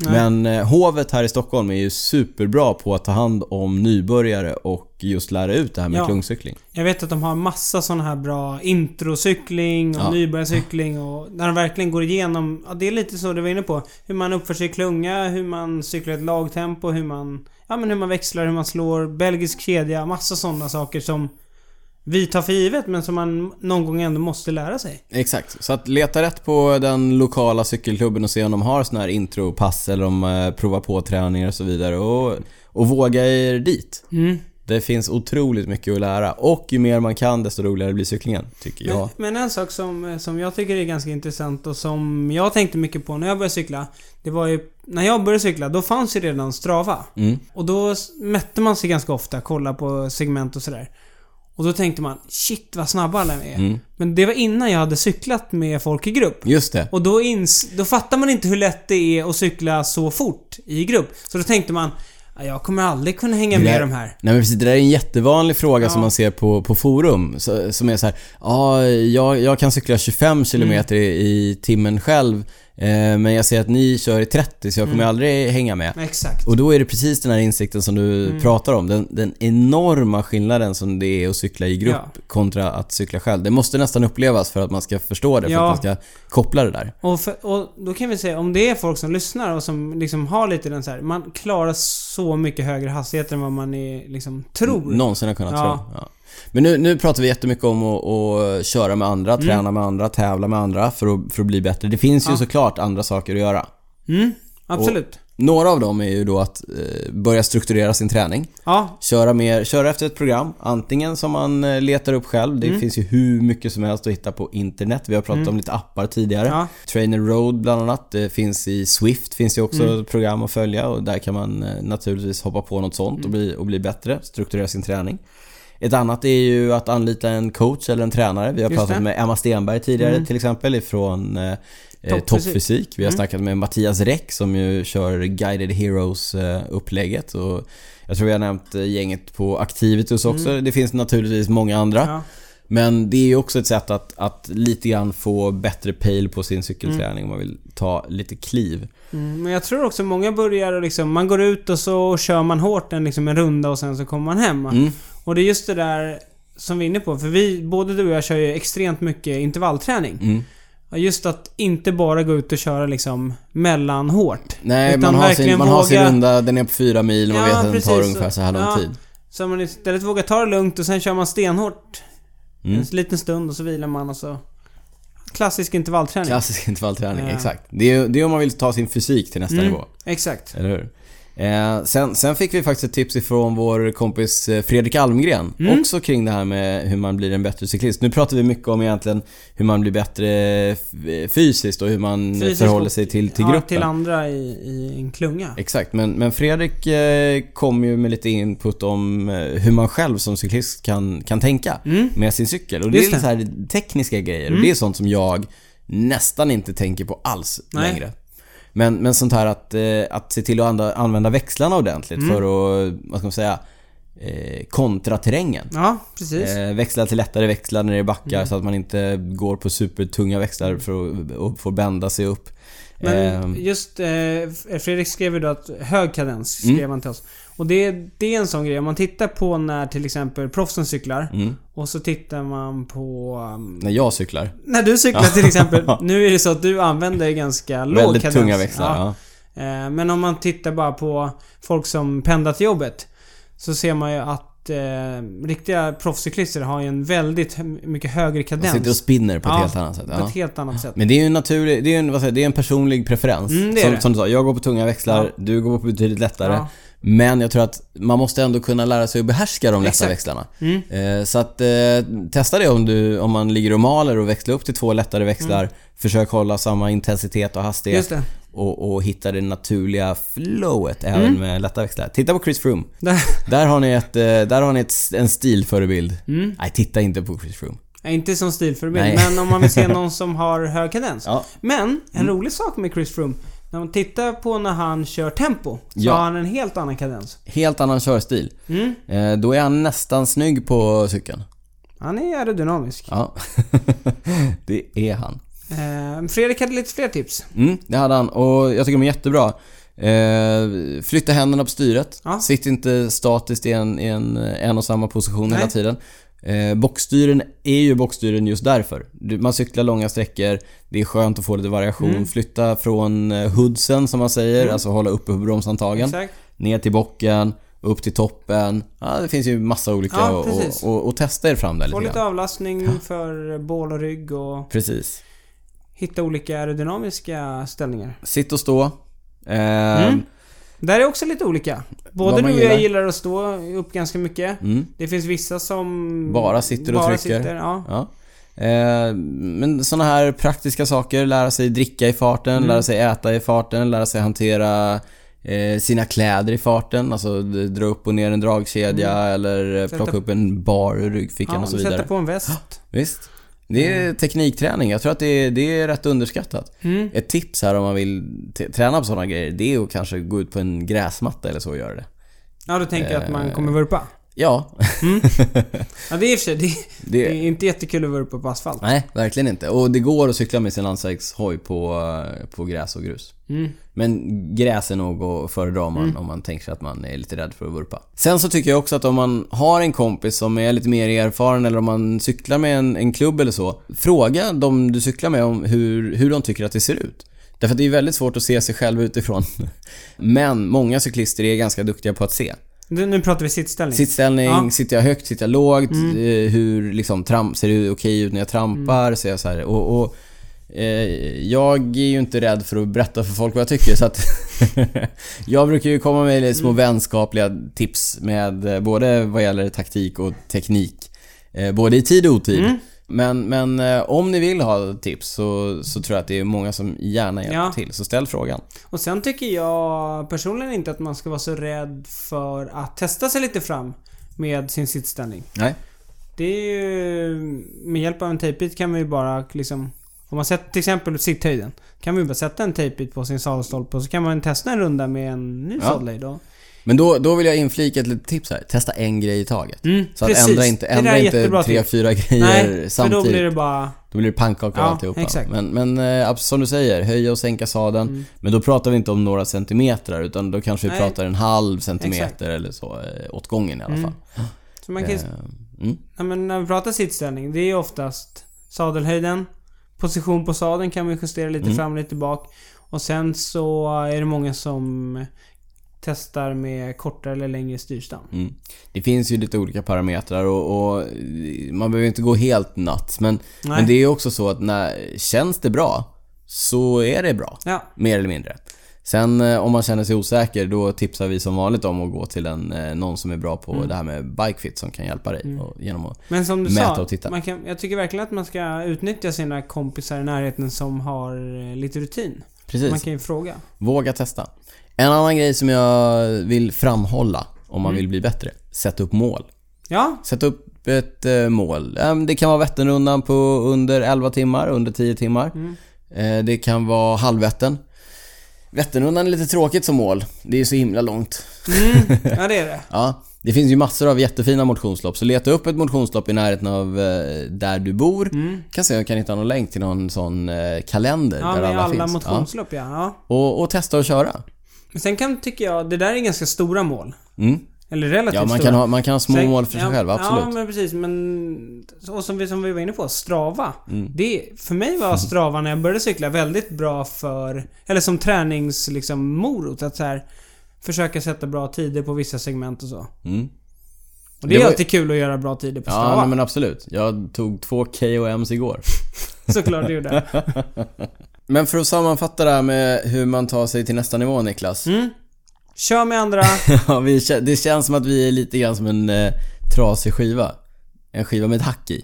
Speaker 2: Men eh, Hovet här i Stockholm är ju superbra på att ta hand om nybörjare och just lära ut det här med
Speaker 1: Ja.
Speaker 2: klungcykling.
Speaker 1: Jag vet att de har massa sådana här bra introcykling och
Speaker 2: Ja.
Speaker 1: nybörjarcykling och när de verkligen går igenom, ja det är lite så du var inne på. Hur man uppför sig i klunga, hur man cyklar i ett lagtempo, hur man, ja men hur man växlar, hur man slår, belgisk kedja, massa sådana saker som vi tar för givet men som man någon gång ändå måste lära sig.
Speaker 2: Exakt, så att leta rätt på den lokala cykelklubben och se om de har såna här intropass eller om eh, prova på träningar och så vidare och, och våga er dit. Det finns otroligt mycket att lära och ju mer man kan desto roligare blir cyklingen, tycker jag.
Speaker 1: Men, men en sak som, eh, som jag tycker är ganska intressant och som jag tänkte mycket på när jag började cykla. Det var ju, när jag började cykla då fanns ju redan Strava.
Speaker 2: Mm.
Speaker 1: Och då s- mätte man sig ganska ofta, kolla på segment och sådär. Och då tänkte man, shit vad snabba alla är. Men det var innan jag hade cyklat med folk i grupp.
Speaker 2: Just det.
Speaker 1: Och då, ins då fattar man inte hur lätt det är att cykla så fort i grupp. Så då tänkte man, "Ja, jag kommer aldrig kunna hänga med de här.
Speaker 2: Nej men precis, det där är en jättevanlig fråga som man ser på, på forum. Så, som är så här, ja, jag, jag kan cykla 25 km i, i timmen själv, eh, men jag ser att ni kör i 30 så jag kommer aldrig hänga med.
Speaker 1: Exakt.
Speaker 2: Och då är det precis den här insikten som du
Speaker 1: Mm.
Speaker 2: pratar om. Den, den enorma skillnaden som det är att cykla i grupp
Speaker 1: Ja.
Speaker 2: kontra att cykla själv. Det måste nästan upplevas för att man ska förstå det, för
Speaker 1: Ja.
Speaker 2: att man ska koppla det där.
Speaker 1: Och, för, och då kan vi säga, om det är folk som lyssnar och som liksom har lite den så här, man klarar så mycket högre hastigheter än vad man är, liksom tror.
Speaker 2: Någonsin har kunnat
Speaker 1: Ja.
Speaker 2: tro. Ja. Men nu, nu pratar vi jättemycket om att, att köra med andra,
Speaker 1: Mm.
Speaker 2: träna med andra, tävla med andra för att, för att bli bättre. Det finns ju såklart andra saker att göra.
Speaker 1: Mm, absolut.
Speaker 2: Några av dem är ju då att eh, börja strukturera sin träning.
Speaker 1: Ja,
Speaker 2: Köra, mer, köra efter ett program, antingen som man eh, letar upp själv. Det finns ju hur mycket som helst att hitta på internet. Vi har pratat om lite appar tidigare.
Speaker 1: Ja.
Speaker 2: Trainer Road bland annat. Det finns i Swift finns ju också
Speaker 1: Mm.
Speaker 2: ett program att följa och där kan man eh, naturligtvis hoppa på något sånt och,
Speaker 1: Mm.
Speaker 2: bli, och bli bättre, strukturera sin träning. Ett annat är ju att anlita en coach eller en tränare. Vi har
Speaker 1: Just
Speaker 2: pratat
Speaker 1: det. Mm.
Speaker 2: med Emma Stenberg tidigare till exempel ifrån eh, eh,
Speaker 1: Toppfysik.
Speaker 2: toppfysik. Vi har
Speaker 1: Mm.
Speaker 2: snackat med Mattias Räck som ju kör Guided Heroes-upplägget. Och jag tror vi har nämnt eh, gänget på Activitus också.
Speaker 1: Mm.
Speaker 2: Det finns naturligtvis många andra.
Speaker 1: Ja.
Speaker 2: Men det är ju också ett sätt att, att lite grann få bättre pejl på sin cykelträning om man vill ta lite kliv.
Speaker 1: Mm, men jag tror också många börjar och liksom, man går ut och så kör man hårt en, liksom, en runda och sen så kommer man hem.
Speaker 2: Mm.
Speaker 1: Och det är just det där som vi är inne på, för vi, både du och jag kör ju extremt mycket intervallträning.
Speaker 2: Mm.
Speaker 1: Och Just att inte bara gå ut och köra liksom mellanhårt.
Speaker 2: Nej,
Speaker 1: Utan
Speaker 2: man har, sin,
Speaker 1: verkligen
Speaker 2: man har sin
Speaker 1: våga-
Speaker 2: runda, den är på fyra mil och man
Speaker 1: Ja,
Speaker 2: vet att den tar
Speaker 1: precis.
Speaker 2: ungefär så här lång
Speaker 1: Ja.
Speaker 2: tid.
Speaker 1: Så man istället vågar ta det lugnt och sen kör man stenhårt
Speaker 2: Mm.
Speaker 1: en liten stund och så vilar man och så... Klassisk intervallträning.
Speaker 2: Klassisk intervallträning,
Speaker 1: Ja.
Speaker 2: exakt. Det är, ju- det är om man vill ta sin fysik till nästa
Speaker 1: Mm,
Speaker 2: nivå,
Speaker 1: Exakt.
Speaker 2: eller hur? Eh, sen, sen fick vi faktiskt ett tips ifrån vår kompis eh, Fredrik Almgren,
Speaker 1: Mm.
Speaker 2: också kring det här med hur man blir en bättre cyklist. Nu pratar vi mycket om egentligen hur man blir bättre f- fysiskt och hur man
Speaker 1: Fysiskt
Speaker 2: förhåller
Speaker 1: och-
Speaker 2: sig till, till
Speaker 1: ja,
Speaker 2: gruppen.
Speaker 1: till andra i, i en klunga.
Speaker 2: Exakt, men, men Fredrik eh, kom ju med lite input om eh, hur man själv som cyklist kan, kan tänka
Speaker 1: Mm.
Speaker 2: med sin cykel. Och det
Speaker 1: Just
Speaker 2: är lite
Speaker 1: det. Mm.
Speaker 2: så här tekniska grejer och det är sånt som jag nästan inte tänker på alls
Speaker 1: Nej.
Speaker 2: längre. Men, men sånt här att, eh, att se till att andra, använda växlarna ordentligt
Speaker 1: Mm.
Speaker 2: för att, vad ska man säga, eh, kontra terrängen.
Speaker 1: Ja, precis.
Speaker 2: Eh, växla till lättare växlar när det är backar
Speaker 1: Mm.
Speaker 2: så att man inte går på supertunga växlar för att och får bända sig upp.
Speaker 1: Men
Speaker 2: Ehm,
Speaker 1: just eh, Fredrik skrev ju då att hög kadens
Speaker 2: Mm.
Speaker 1: skrev han till oss. Och det, det är en sån grej. Om man tittar på när till exempel proffsen cyklar.
Speaker 2: Mm.
Speaker 1: Och så tittar man på... um,
Speaker 2: när jag cyklar.
Speaker 1: när du cyklar till exempel. Nu är det så att du använder ganska låg
Speaker 2: Väldigt
Speaker 1: kadens.
Speaker 2: tunga växlar,
Speaker 1: Ja.
Speaker 2: ja.
Speaker 1: Eh, Men om man tittar bara på folk som pendlar till jobbet. Så ser man ju att eh, riktiga proffscyklister har ju en väldigt hö- mycket högre
Speaker 2: Man
Speaker 1: kadens.
Speaker 2: sitter och spinner på ett
Speaker 1: Ja,
Speaker 2: helt annat sätt.
Speaker 1: På
Speaker 2: Ja.
Speaker 1: ett helt annat sätt.
Speaker 2: Men det är ju en naturlig, det är ju en, vad säger, jag, det är en personlig preferens.
Speaker 1: Mm, det är
Speaker 2: som,
Speaker 1: det.
Speaker 2: som du sa, jag går på tunga växlar,
Speaker 1: Ja.
Speaker 2: du går på betydligt lättare.
Speaker 1: Ja.
Speaker 2: Men jag tror att man måste ändå kunna lära sig att behärska de lätta
Speaker 1: Exakt.
Speaker 2: växlarna.
Speaker 1: Mm.
Speaker 2: Eh, så att eh, testa det om, du, om man ligger och maler och växlar upp till två lättare växlar. Försök hålla samma intensitet och
Speaker 1: Mm. Just
Speaker 2: hastighet
Speaker 1: det.
Speaker 2: och, och hitta det naturliga flowet även med lätta växlar. Titta på Chris Froome.
Speaker 1: Mm. Där.
Speaker 2: Där har ni, ett, eh, där har ni ett, en stilförebild.
Speaker 1: Mm.
Speaker 2: Nej, titta inte på Chris Froome.
Speaker 1: Ja, Eh, Inte som stilförebild,
Speaker 2: Nej.
Speaker 1: men om man vill se någon som har hög kadens.
Speaker 2: Ja. Mm.
Speaker 1: Men, en rolig sak med Chris Froome. När man tittar på när han kör tempo, så
Speaker 2: Ja.
Speaker 1: har han en helt annan kadens.
Speaker 2: Helt annan körstil.
Speaker 1: Mm.
Speaker 2: Eh, Då är han nästan snygg på cykeln.
Speaker 1: Han är aerodynamisk.
Speaker 2: Ja, det är han.
Speaker 1: Eh, Fredrik hade lite fler tips.
Speaker 2: Mm, det hade han och jag tycker de är jättebra. Eh, flytta händerna på styret.
Speaker 1: Ja.
Speaker 2: Sitt inte statiskt i en, i en, en och samma position hela
Speaker 1: Nej.
Speaker 2: tiden. Eh, bockstyren är ju bockstyren just därför. Du, man cyklar långa sträckor, det är skönt att få lite variation.
Speaker 1: Mm.
Speaker 2: Flytta från eh, hoodsen som man säger, alltså hålla uppe på bromshandtagen.
Speaker 1: Exakt.
Speaker 2: ner till bocken, upp till toppen. Ja, det finns ju massa olika
Speaker 1: Ja,
Speaker 2: och,
Speaker 1: precis.
Speaker 2: och, och, och testa er fram där
Speaker 1: Få
Speaker 2: lite
Speaker 1: lite
Speaker 2: grann.
Speaker 1: avlastning för bål och rygg och
Speaker 2: Precis.
Speaker 1: hitta olika aerodynamiska ställningar.
Speaker 2: Sitt och stå. Ehm,
Speaker 1: Mm. Där är också lite olika. Både
Speaker 2: Vad
Speaker 1: du
Speaker 2: man
Speaker 1: och jag
Speaker 2: gillar.
Speaker 1: gillar att stå upp ganska mycket.
Speaker 2: mm,
Speaker 1: Det finns vissa som...
Speaker 2: Bara sitter och
Speaker 1: bara
Speaker 2: trycker.
Speaker 1: Sitter, ja.
Speaker 2: ja. Ehm, men sådana här praktiska saker, lära sig dricka i farten,
Speaker 1: Mm.
Speaker 2: lära sig äta i farten, lära sig hantera eh, sina kläder i farten, alltså d- dra upp och ner en dragkedja eller eh,
Speaker 1: Mm. Sätta-
Speaker 2: plocka upp en bar ur ryggfickan
Speaker 1: ja
Speaker 2: och så
Speaker 1: sätta
Speaker 2: vidare.
Speaker 1: på en väst.
Speaker 2: Visst. Det är teknikträning. Jag tror att det är, det är rätt underskattat.
Speaker 1: Mm.
Speaker 2: Ett tips här om man vill t- träna på sådana grejer, det är att kanske gå ut på en gräsmatta eller så och göra det.
Speaker 1: Ja, du tänker jag att man
Speaker 2: Eh.
Speaker 1: kommer vurpa?
Speaker 2: Ja,
Speaker 1: Ja, det är i och för sig, det, det
Speaker 2: det...
Speaker 1: är inte jättekul att vurpa på asfalt.
Speaker 2: Nej, verkligen inte. Och det går att cykla med sin landsvägshoj på, eh, på gräs och grus.
Speaker 1: Mm.
Speaker 2: Men gräs är nog att föredra om man, om man tänker sig att man är lite rädd för att vurpa. Sen så tycker jag också att om man har en kompis som är lite mer erfaren eller om man cyklar med en, en klubb eller så. Fråga de du cyklar med om hur, hur de tycker att det ser ut. Därför att det är väldigt svårt att se sig själv utifrån. Men många cyklister är ganska duktiga på att se.
Speaker 1: Nu, nu pratar vi sittställning.
Speaker 2: Sittställning,
Speaker 1: Ja. Mm.
Speaker 2: sitter jag högt, sitter jag lågt? Eh, Hur liksom, tramp, ser det okej ut när jag trampar? Ser jag så här? Och, och, eh, jag är ju inte rädd för att berätta för folk vad jag tycker så att Jag brukar ju komma med lite små
Speaker 1: Mm.
Speaker 2: vänskapliga tips med eh, både vad gäller taktik och teknik. Eh, både i tid och otid.
Speaker 1: Mm.
Speaker 2: Men, men eh, om ni vill ha tips så, så tror jag att det är många som gärna hjälper
Speaker 1: Ja.
Speaker 2: till. Så ställ frågan.
Speaker 1: Och sen tycker jag personligen inte att man ska vara så rädd för att testa sig lite fram med sin sittställning.
Speaker 2: Nej.
Speaker 1: Det är ju... Med hjälp av en tejpbit kan man ju bara liksom Om man sätter till exempel sitthöjden. Kan man ju bara sätta en tejpbit på sin sadelstolpe och så kan man testa en runda med en ny
Speaker 2: Ja.
Speaker 1: sadelhöjd. och-
Speaker 2: Men då, då vill jag inflika ett litet tips här. Testa en grej i taget.
Speaker 1: Mm,
Speaker 2: Så att ändra inte,
Speaker 1: Det där är
Speaker 2: ändra
Speaker 1: jättebra
Speaker 2: inte tre,
Speaker 1: tips.
Speaker 2: fyra grejer
Speaker 1: Nej, för
Speaker 2: samtidigt.
Speaker 1: då blir det bara...
Speaker 2: pannkaka och
Speaker 1: Ja,
Speaker 2: alltihopa.
Speaker 1: exakt. Mm.
Speaker 2: Men, men eh, abs- som du säger, höja och sänka sadeln. Men då pratar vi inte om några centimeter utan då kanske vi
Speaker 1: Nej.
Speaker 2: pratar en halv centimeter
Speaker 1: Exakt.
Speaker 2: eller så eh, åt gången i alla
Speaker 1: Mm.
Speaker 2: fall.
Speaker 1: Så man kan ju
Speaker 2: Eh, mm.
Speaker 1: Ja, men när vi pratar sittställning, det är ju oftast sadelhöjden, position på sadeln kan man justera lite
Speaker 2: Mm.
Speaker 1: fram och lite bak. Och sen så är det många som testar med kortare eller längre styrstam.
Speaker 2: Mm. Det finns ju lite olika parametrar och, och man behöver inte gå helt nuts men,
Speaker 1: Nej.
Speaker 2: men det är ju också så att när känns det bra så är det bra.
Speaker 1: Ja,
Speaker 2: Mer eller mindre. Sen eh, om man känner sig osäker då tipsar vi som vanligt om att gå till en, eh, någon som är bra på
Speaker 1: Mm.
Speaker 2: det här med bikefit som kan hjälpa dig. Och, genom att,
Speaker 1: men som du
Speaker 2: Mäta
Speaker 1: sa,
Speaker 2: och titta.
Speaker 1: Man kan, jag tycker verkligen att man ska utnyttja sina kompisar i närheten som har eh, lite rutin.
Speaker 2: precis,
Speaker 1: Man kan ju fråga.
Speaker 2: våga testa. En annan grej som jag vill framhålla om man
Speaker 1: Mm.
Speaker 2: vill bli bättre. Sätt upp mål.
Speaker 1: Ja,
Speaker 2: Sätt upp ett eh, mål. Eh, Det kan vara Vätternrundan på under 11 timmar, under 10 timmar.
Speaker 1: Mm.
Speaker 2: Eh, Det kan vara halvvätten. Vätternrundan är lite tråkigt som mål. Det är så himla långt.
Speaker 1: mm, ja det är det.
Speaker 2: Ja, det finns ju massor av jättefina motionslopp. Så leta upp ett motionslopp i närheten av eh, där du bor. Kan se om jag kan hitta någon länk till någon sån eh, kalender
Speaker 1: Mm. Ja,
Speaker 2: där
Speaker 1: med
Speaker 2: alla,
Speaker 1: alla
Speaker 2: finns.
Speaker 1: motionslopp ja. ja.
Speaker 2: Ja. Och, och testa och köra.
Speaker 1: Men sen kan, tycker jag, det där är ganska stora mål.
Speaker 2: Mm.
Speaker 1: Eller relativt
Speaker 2: Ja, man
Speaker 1: stora.
Speaker 2: kan, ha, man kan ha små
Speaker 1: Sen-
Speaker 2: mål för sig
Speaker 1: ja,
Speaker 2: själv, absolut.
Speaker 1: Ja, men precis. Men... Och som vi, som vi var inne på, Strava.
Speaker 2: Mm.
Speaker 1: Det, för mig var Strava när jag började cykla väldigt bra för... Eller som träningsmorot. Liksom, morot, att så här, försöka sätta bra tider på vissa segment och så.
Speaker 2: Mm.
Speaker 1: Och
Speaker 2: Det
Speaker 1: det, är
Speaker 2: var-
Speaker 1: alltid kul att göra bra tider på
Speaker 2: Ja,
Speaker 1: Strava.
Speaker 2: nej, men absolut. Jag tog två KOMs igår.
Speaker 1: Såklart du gjorde.
Speaker 2: Men för att sammanfatta det här med hur man tar sig till nästa nivå Niklas.
Speaker 1: Mm. Kör med andra.
Speaker 2: Ja, vi, kä- det känns som att vi är lite grann som en eh, trasig skiva. En skiva med ett hack i.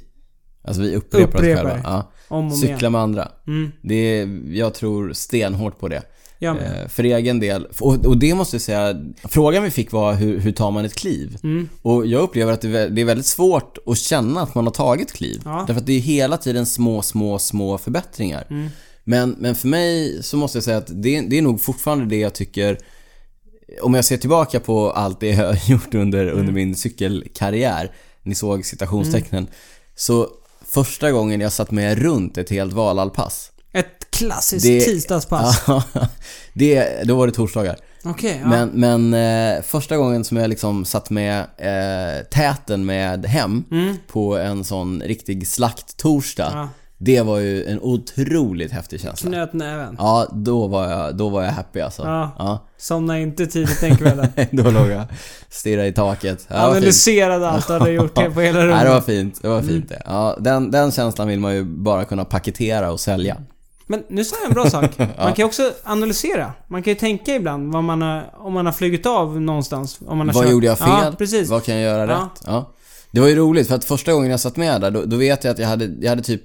Speaker 2: Alltså vi upprepar,
Speaker 1: Upprepar.
Speaker 2: oss själva.
Speaker 1: Om
Speaker 2: Ja.
Speaker 1: och om igen.
Speaker 2: Cykla med andra.
Speaker 1: Mm.
Speaker 2: Det är, jag tror stenhårt på det.
Speaker 1: Jag med.
Speaker 2: Eh, för egen del. Och, och det måste jag säga, frågan vi fick var hur, hur tar man ett kliv?
Speaker 1: Mm.
Speaker 2: Och jag upplever att det är vä- det är väldigt svårt att känna att man har tagit kliv.
Speaker 1: Ja.
Speaker 2: Därför att det är hela tiden små, små, små förbättringar.
Speaker 1: Mm.
Speaker 2: Men, men för mig så måste jag säga att det, det är nog fortfarande det jag tycker om jag ser tillbaka på allt det jag har gjort under,
Speaker 1: Mm.
Speaker 2: under min cykelkarriär, ni såg citationstecknen,
Speaker 1: Mm.
Speaker 2: så första gången jag satt med runt ett helt Valhallpass.
Speaker 1: Ett klassiskt
Speaker 2: Eh. det-
Speaker 1: tisdagspass.
Speaker 2: det, då var det torsdagar.
Speaker 1: Okej, ja.
Speaker 2: Men, men eh, första gången som jag liksom satt med eh, täten med hem på en sån riktig slakttorsdag,
Speaker 1: Mm. Ja.
Speaker 2: det var ju en otroligt häftig känsla.
Speaker 1: Knöt näven.
Speaker 2: Ja, då var jag, då var jag happy alltså.
Speaker 1: Ja.
Speaker 2: Ja.
Speaker 1: Somna inte tidigt den kvällen.
Speaker 2: då låg jag stirra i taket. Ja, det var fint.
Speaker 1: Analyserade allt du hade gjort det på hela
Speaker 2: Nej, det var
Speaker 1: rummet.
Speaker 2: fint. Det var fint
Speaker 1: Mm.
Speaker 2: det. Ja, den, den känslan vill man ju bara kunna paketera och sälja.
Speaker 1: Men nu sa jag en bra sak. Man kan ju också analysera. Man kan ju tänka ibland vad man har, om man har flugit av någonstans. Om man har
Speaker 2: Vad
Speaker 1: kört.
Speaker 2: gjorde jag fel?
Speaker 1: Ja, precis.
Speaker 2: Vad kan jag göra
Speaker 1: Ja.
Speaker 2: rätt? Ja. Det var ju roligt för att första gången jag satt med där, då, då vet jag att jag hade, jag hade typ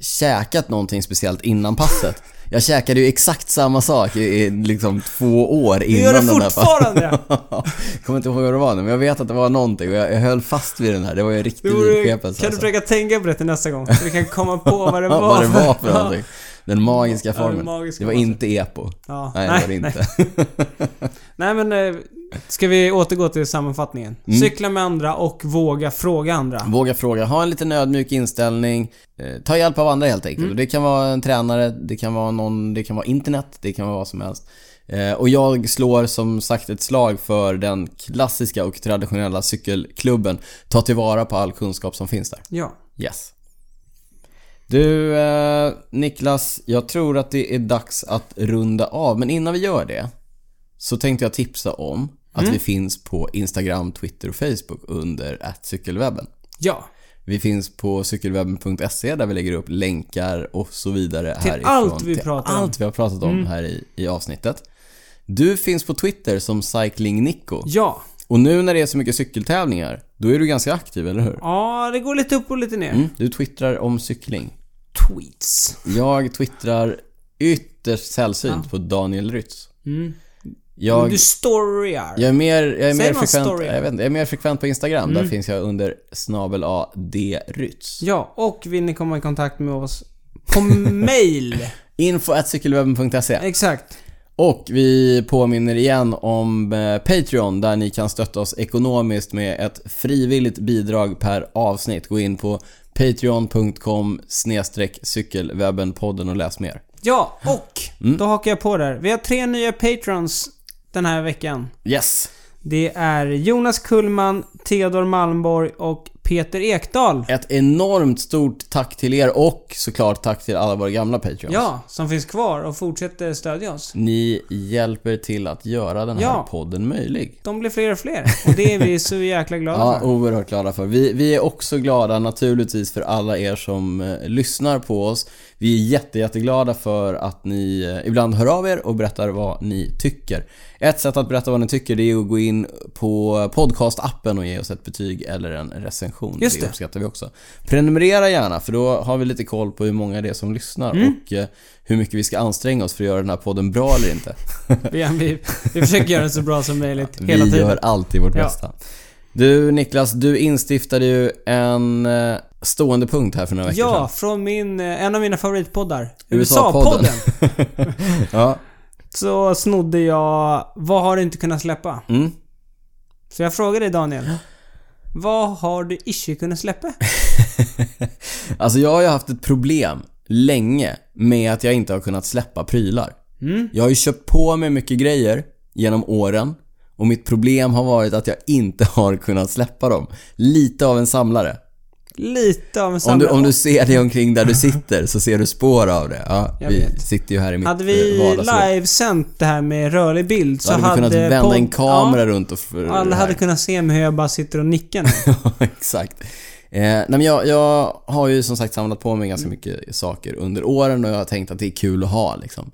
Speaker 2: käkat någonting speciellt innan passet. Jag käkade ju exakt samma sak i, i liksom två år
Speaker 1: Du gör
Speaker 2: innan
Speaker 1: det
Speaker 2: den där passen.
Speaker 1: fortfarande!
Speaker 2: Jag kommer inte ihåg vad det var nu, men jag vet att det var någonting och jag, jag höll fast vid den här. Det var ju en riktig
Speaker 1: Det vore, kan
Speaker 2: vidskepelse.
Speaker 1: du försöka tänka på det till nästa gång? Så vi kan komma på vad det var.
Speaker 2: alltså. Ja, vad det var för
Speaker 1: Ja.
Speaker 2: någonting. Den magiska
Speaker 1: Ja, den
Speaker 2: formen.
Speaker 1: magiska
Speaker 2: det var
Speaker 1: formen.
Speaker 2: inte epo.
Speaker 1: Ja.
Speaker 2: Nej, det var det
Speaker 1: Nej,
Speaker 2: inte.
Speaker 1: nej, men... eh, Ska vi återgå till sammanfattningen?
Speaker 2: Mm.
Speaker 1: Cykla med andra och våga fråga andra.
Speaker 2: Våga fråga, ha en liten ödmjuk inställning. Eh, ta hjälp av andra helt enkelt. Och det kan vara en tränare, det kan vara någon, det kan vara internet, det kan vara vad som helst. Eh, och jag slår som sagt ett slag för den klassiska och traditionella cykelklubben. Ta tillvara på all kunskap som finns där.
Speaker 1: Ja.
Speaker 2: Yes. Du eh, Niklas, jag tror att det är dags att runda av. Men innan vi gör det så tänkte jag tipsa om att vi finns på Instagram, Twitter och Facebook under cykelwebben.
Speaker 1: Ja.
Speaker 2: Vi finns på cykelwebben.se där vi lägger upp länkar och så vidare
Speaker 1: Till
Speaker 2: härifrån.
Speaker 1: allt vi pratar om. Mm.
Speaker 2: allt vi har pratat om här i, i avsnittet. Du finns på Twitter som CyclingNico.
Speaker 1: Ja.
Speaker 2: Och nu när det är så mycket cykeltävlingar, då är du ganska aktiv, eller hur?
Speaker 1: Ja, det går lite upp och lite ner.
Speaker 2: Mm, du twittrar om cykling.
Speaker 1: Tweets.
Speaker 2: Jag twittrar ytterst sällsynt på Daniel Rytz. Jag,
Speaker 1: Mm. Du storyar.
Speaker 2: jag, är mer, jag, är
Speaker 1: Säger
Speaker 2: mer
Speaker 1: man
Speaker 2: frekvent,
Speaker 1: story? Mm.
Speaker 2: jag, vet inte, jag är mer frekvent på Instagram. Där finns jag under snabel A D Rytz.
Speaker 1: Ja, och vill ni komma i kontakt med oss På mail.
Speaker 2: Info at cykelwebben.se.
Speaker 1: Exakt.
Speaker 2: Och vi påminner igen om eh, Patreon där ni kan stötta oss ekonomiskt med ett frivilligt bidrag per avsnitt. Gå in på patreon.com cykelwebbenpodden och läs mer.
Speaker 1: Ja, och
Speaker 2: Mm.
Speaker 1: då hakar jag på där. Vi har tre nya patrons den här veckan.
Speaker 2: Yes!
Speaker 1: Det är Jonas Kullman, Theodor Malmborg och Peter Ekdahl.
Speaker 2: Ett enormt stort tack till er och såklart tack till alla våra gamla Patreons.
Speaker 1: Ja, som finns kvar och fortsätter stödja oss.
Speaker 2: Ni hjälper till att göra den här
Speaker 1: Ja.
Speaker 2: podden möjlig.
Speaker 1: De blir fler och fler. Och det är vi så jäkla glada
Speaker 2: Ja,
Speaker 1: för.
Speaker 2: oerhört glada för. Vi, vi är också glada naturligtvis för alla er som eh, lyssnar på oss. Vi är jätte, jätteglada för att ni eh, ibland hör av er och berättar vad ni tycker. Ett sätt att berätta vad ni tycker det är att gå in på podcastappen och ge oss ett betyg eller en recension.
Speaker 1: Just det.
Speaker 2: uppskattar vi också. Prenumerera gärna för då har vi lite koll på hur många det är som lyssnar
Speaker 1: Mm.
Speaker 2: och eh, hur mycket vi ska anstränga oss för att göra den här podden bra eller inte.
Speaker 1: Vi, vi, vi försöker göra det så bra som möjligt
Speaker 2: Vi
Speaker 1: hela tiden.
Speaker 2: gör alltid vårt
Speaker 1: Ja.
Speaker 2: bästa. Du Niklas, du instiftade ju en eh, stående punkt här för några veckor
Speaker 1: Ja, från min, eh, en av mina favoritpoddar.
Speaker 2: USA-podden.
Speaker 1: USA-podden.
Speaker 2: sedan. Ja.
Speaker 1: Så snodde jag Vad har du inte kunnat släppa?
Speaker 2: Mm.
Speaker 1: Så jag frågade dig Daniel. Vad har du inte kunnat släppa?
Speaker 2: Alltså jag har ju haft ett problem länge med att jag inte har kunnat släppa prylar.
Speaker 1: Mm.
Speaker 2: Jag har ju köpt på mig mycket grejer genom åren och mitt problem har varit att jag inte har kunnat släppa dem. Lite av en samlare.
Speaker 1: Lite av en
Speaker 2: Om du,
Speaker 1: samlare.
Speaker 2: om du ser dig omkring där du sitter så ser du spår av det. Ja,
Speaker 1: Jag
Speaker 2: vi
Speaker 1: vet.
Speaker 2: sitter ju här i mitt
Speaker 1: Hade
Speaker 2: eh,
Speaker 1: vi
Speaker 2: vardagsrum.
Speaker 1: livesänt det här med rörlig bild så
Speaker 2: Då hade vi kunnat vända
Speaker 1: podd-
Speaker 2: en kamera
Speaker 1: Ja,
Speaker 2: runt och... För,
Speaker 1: alla hade kunnat se mig hur jag bara sitter och nickar nu.
Speaker 2: Ja, exakt. Eh, nej men jag, jag har ju som sagt samlat på mig ganska mycket saker under åren och jag har tänkt att det är kul att ha liksom.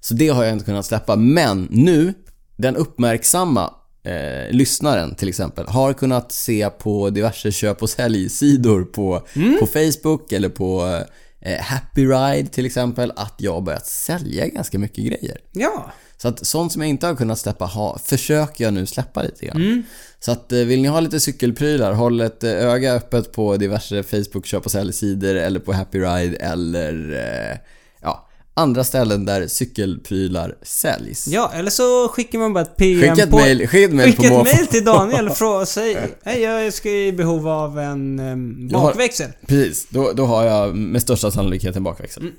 Speaker 2: Så det har jag inte kunnat släppa. Men nu, den uppmärksamma eh, lyssnaren till exempel, har kunnat se på diverse köp och säljsidor på, på Facebook eller på eh, Happy Ride till exempel, att jag har börjat sälja ganska mycket grejer.
Speaker 1: Ja.
Speaker 2: Så att sånt som jag inte har kunnat släppa ha, försöker jag nu släppa lite grann.
Speaker 1: Mm.
Speaker 2: Så att eh, vill ni ha lite cykelprylar, håll ett eh, öga öppet på diverse Facebook köp och säljsidor eller på Happy Ride eller eh, ja, andra ställen där cykelprylar säljs.
Speaker 1: Ja, eller så skickar man bara ett PM
Speaker 2: Skicka ett
Speaker 1: på...
Speaker 2: mail, skicka ett mail på
Speaker 1: Skicka ett
Speaker 2: måfå.
Speaker 1: mail till Daniel och fråga, säg hej jag ska i behov av en em,
Speaker 2: Jag har-
Speaker 1: bakväxel.
Speaker 2: Precis, då, då har jag med största sannolikhet en bakväxel.
Speaker 1: Mm.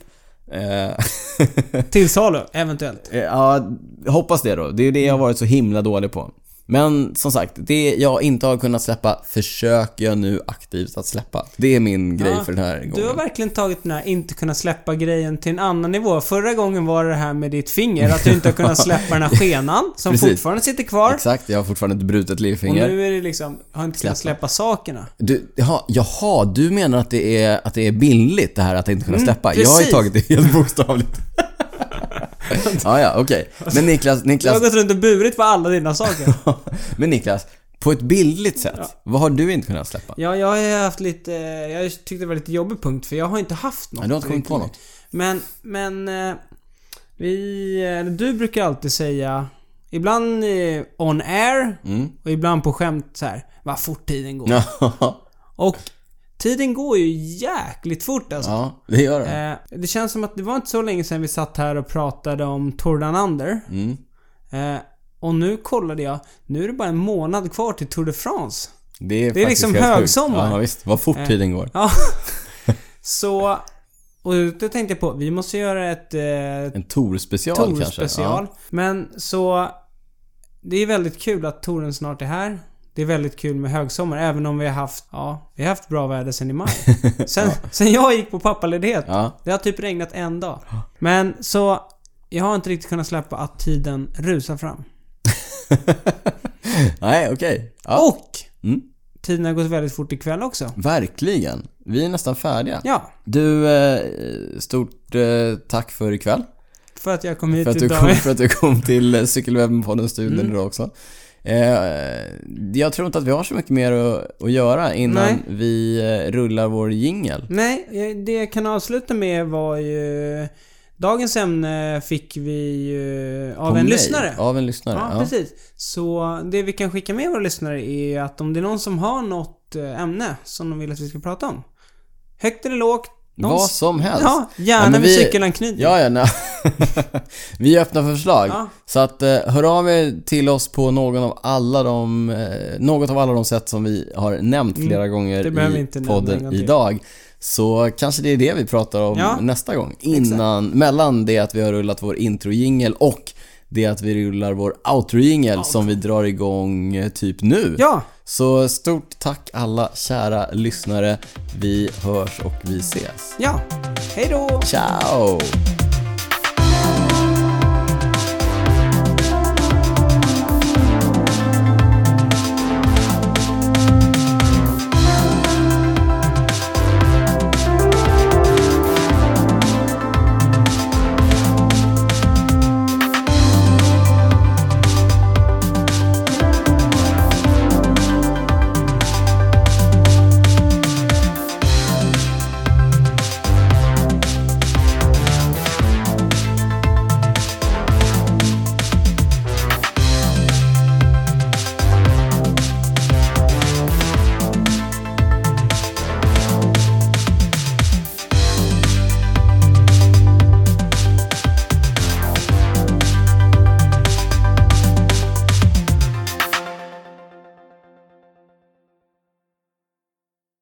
Speaker 2: Eh,
Speaker 1: Till salu, eventuellt.
Speaker 2: Eh, Ja, hoppas det då. Det är ju det jag har varit så himla dålig på. Men som sagt, det jag inte har kunnat släppa försöker jag nu aktivt att släppa. Det är min grej
Speaker 1: Ja,
Speaker 2: för den här gången.
Speaker 1: Du har verkligen tagit den här inte kunna släppa grejen till en annan nivå. Förra gången var det här med ditt finger, att du inte har kunnat släppa den här skenan som
Speaker 2: Precis.
Speaker 1: fortfarande sitter kvar.
Speaker 2: Exakt, jag har fortfarande ett brutet
Speaker 1: Och
Speaker 2: lillfinger.
Speaker 1: nu är det liksom, har inte kunnat släppa sakerna.
Speaker 2: Du, jaha, jaha, du menar att det är, att det är billigt det här att inte kunna släppa? jag har ju
Speaker 1: Mm, precis.
Speaker 2: tagit det helt bokstavligt. ja, ja, okej. Men Niklas,
Speaker 1: Jag har
Speaker 2: Niklas,
Speaker 1: gått runt och burit på alla dina saker.
Speaker 2: men Niklas, på ett bildligt sätt, vad har du inte kunnat släppa?
Speaker 1: Ja, jag har ju haft lite... eh, Jag tyckte det var lite jobbig punkt för jag har inte haft något.
Speaker 2: Nej, du har inte kommit på något.
Speaker 1: Men, men... eh, Vi... eh, Du brukar alltid säga... Ibland eh, on air
Speaker 2: Mm.
Speaker 1: och ibland på skämt så här. Vad fort tiden går. Och tiden går ju jäkligt fort alltså.
Speaker 2: ja, det gör det.
Speaker 1: Eh, Det känns som att det var inte så länge sedan vi satt här och pratade om Tordan Under.
Speaker 2: Mm.
Speaker 1: Och nu kollade jag. Nu är det bara en månad kvar till Tour de France.
Speaker 2: Det är,
Speaker 1: Det är
Speaker 2: faktiskt
Speaker 1: liksom
Speaker 2: helt sjukt.
Speaker 1: högsommar. Eh.
Speaker 2: Ja, visst. Vad fort tiden går.
Speaker 1: Ja. Så... Och då tänkte jag på, vi måste göra ett eh,
Speaker 2: En Tor-special kanske.
Speaker 1: Tor-special. Men så... Det är väldigt kul att touren snart är här. Det är väldigt kul med högsommar, även om vi har haft... Ja, vi har haft bra väder sen i maj. Sen, sen jag gick på pappaledighet.
Speaker 2: Ja.
Speaker 1: Det har typ regnat en dag. Men så... Jag har inte riktigt kunnat släppa att tiden rusar fram.
Speaker 2: ja. Nej, okej. Ja,
Speaker 1: Och!
Speaker 2: Mm.
Speaker 1: Tiden har gått väldigt fort ikväll också.
Speaker 2: Verkligen. Vi är nästan färdiga.
Speaker 1: Ja,
Speaker 2: Du, eh, stort eh, tack för ikväll.
Speaker 1: för att jag kom hit
Speaker 2: För att du
Speaker 1: idag.
Speaker 2: kom, för att du kom till eh, Cykelwebben-poddens studion
Speaker 1: Mm.
Speaker 2: idag också. Eh, jag tror inte att vi har så mycket mer att, att göra innan
Speaker 1: Nej.
Speaker 2: vi eh, rullar vår jingel.
Speaker 1: Nej, eh, det jag kan avsluta med var ju... Dagens ämne fick vi ju av
Speaker 2: På
Speaker 1: en
Speaker 2: mig.
Speaker 1: lyssnare.
Speaker 2: Av en lyssnare,
Speaker 1: Ja,
Speaker 2: ja.
Speaker 1: precis. Så det vi kan skicka med våra lyssnare är att om det är någon som har något eh, ämne som de vill att vi ska prata om. Högt eller lågt,
Speaker 2: Vad som helst.
Speaker 1: Ja,
Speaker 2: Ja,
Speaker 1: gärna
Speaker 2: men
Speaker 1: med
Speaker 2: vi-
Speaker 1: cykelanknytning.
Speaker 2: Ja, ja, nej. Vi är öppna för förslag.
Speaker 1: Ja.
Speaker 2: Så att eh, hör av er till oss på någon av alla de, eh, något av alla de sätt som vi har nämnt
Speaker 1: Mm,
Speaker 2: flera
Speaker 1: det
Speaker 2: gånger
Speaker 1: behöver vi
Speaker 2: i
Speaker 1: inte nämna en
Speaker 2: podden
Speaker 1: gång till.
Speaker 2: idag. Så kanske det är det vi pratar om
Speaker 1: Ja,
Speaker 2: nästa gång. Innan, mellan det att vi har rullat vår introjingel och det att vi rullar vår outrojingel som vi drar igång eh, typ nu.
Speaker 1: ja.
Speaker 2: Så stort tack alla kära lyssnare. Vi hörs och vi ses.
Speaker 1: ja. Hej då!
Speaker 2: Ciao!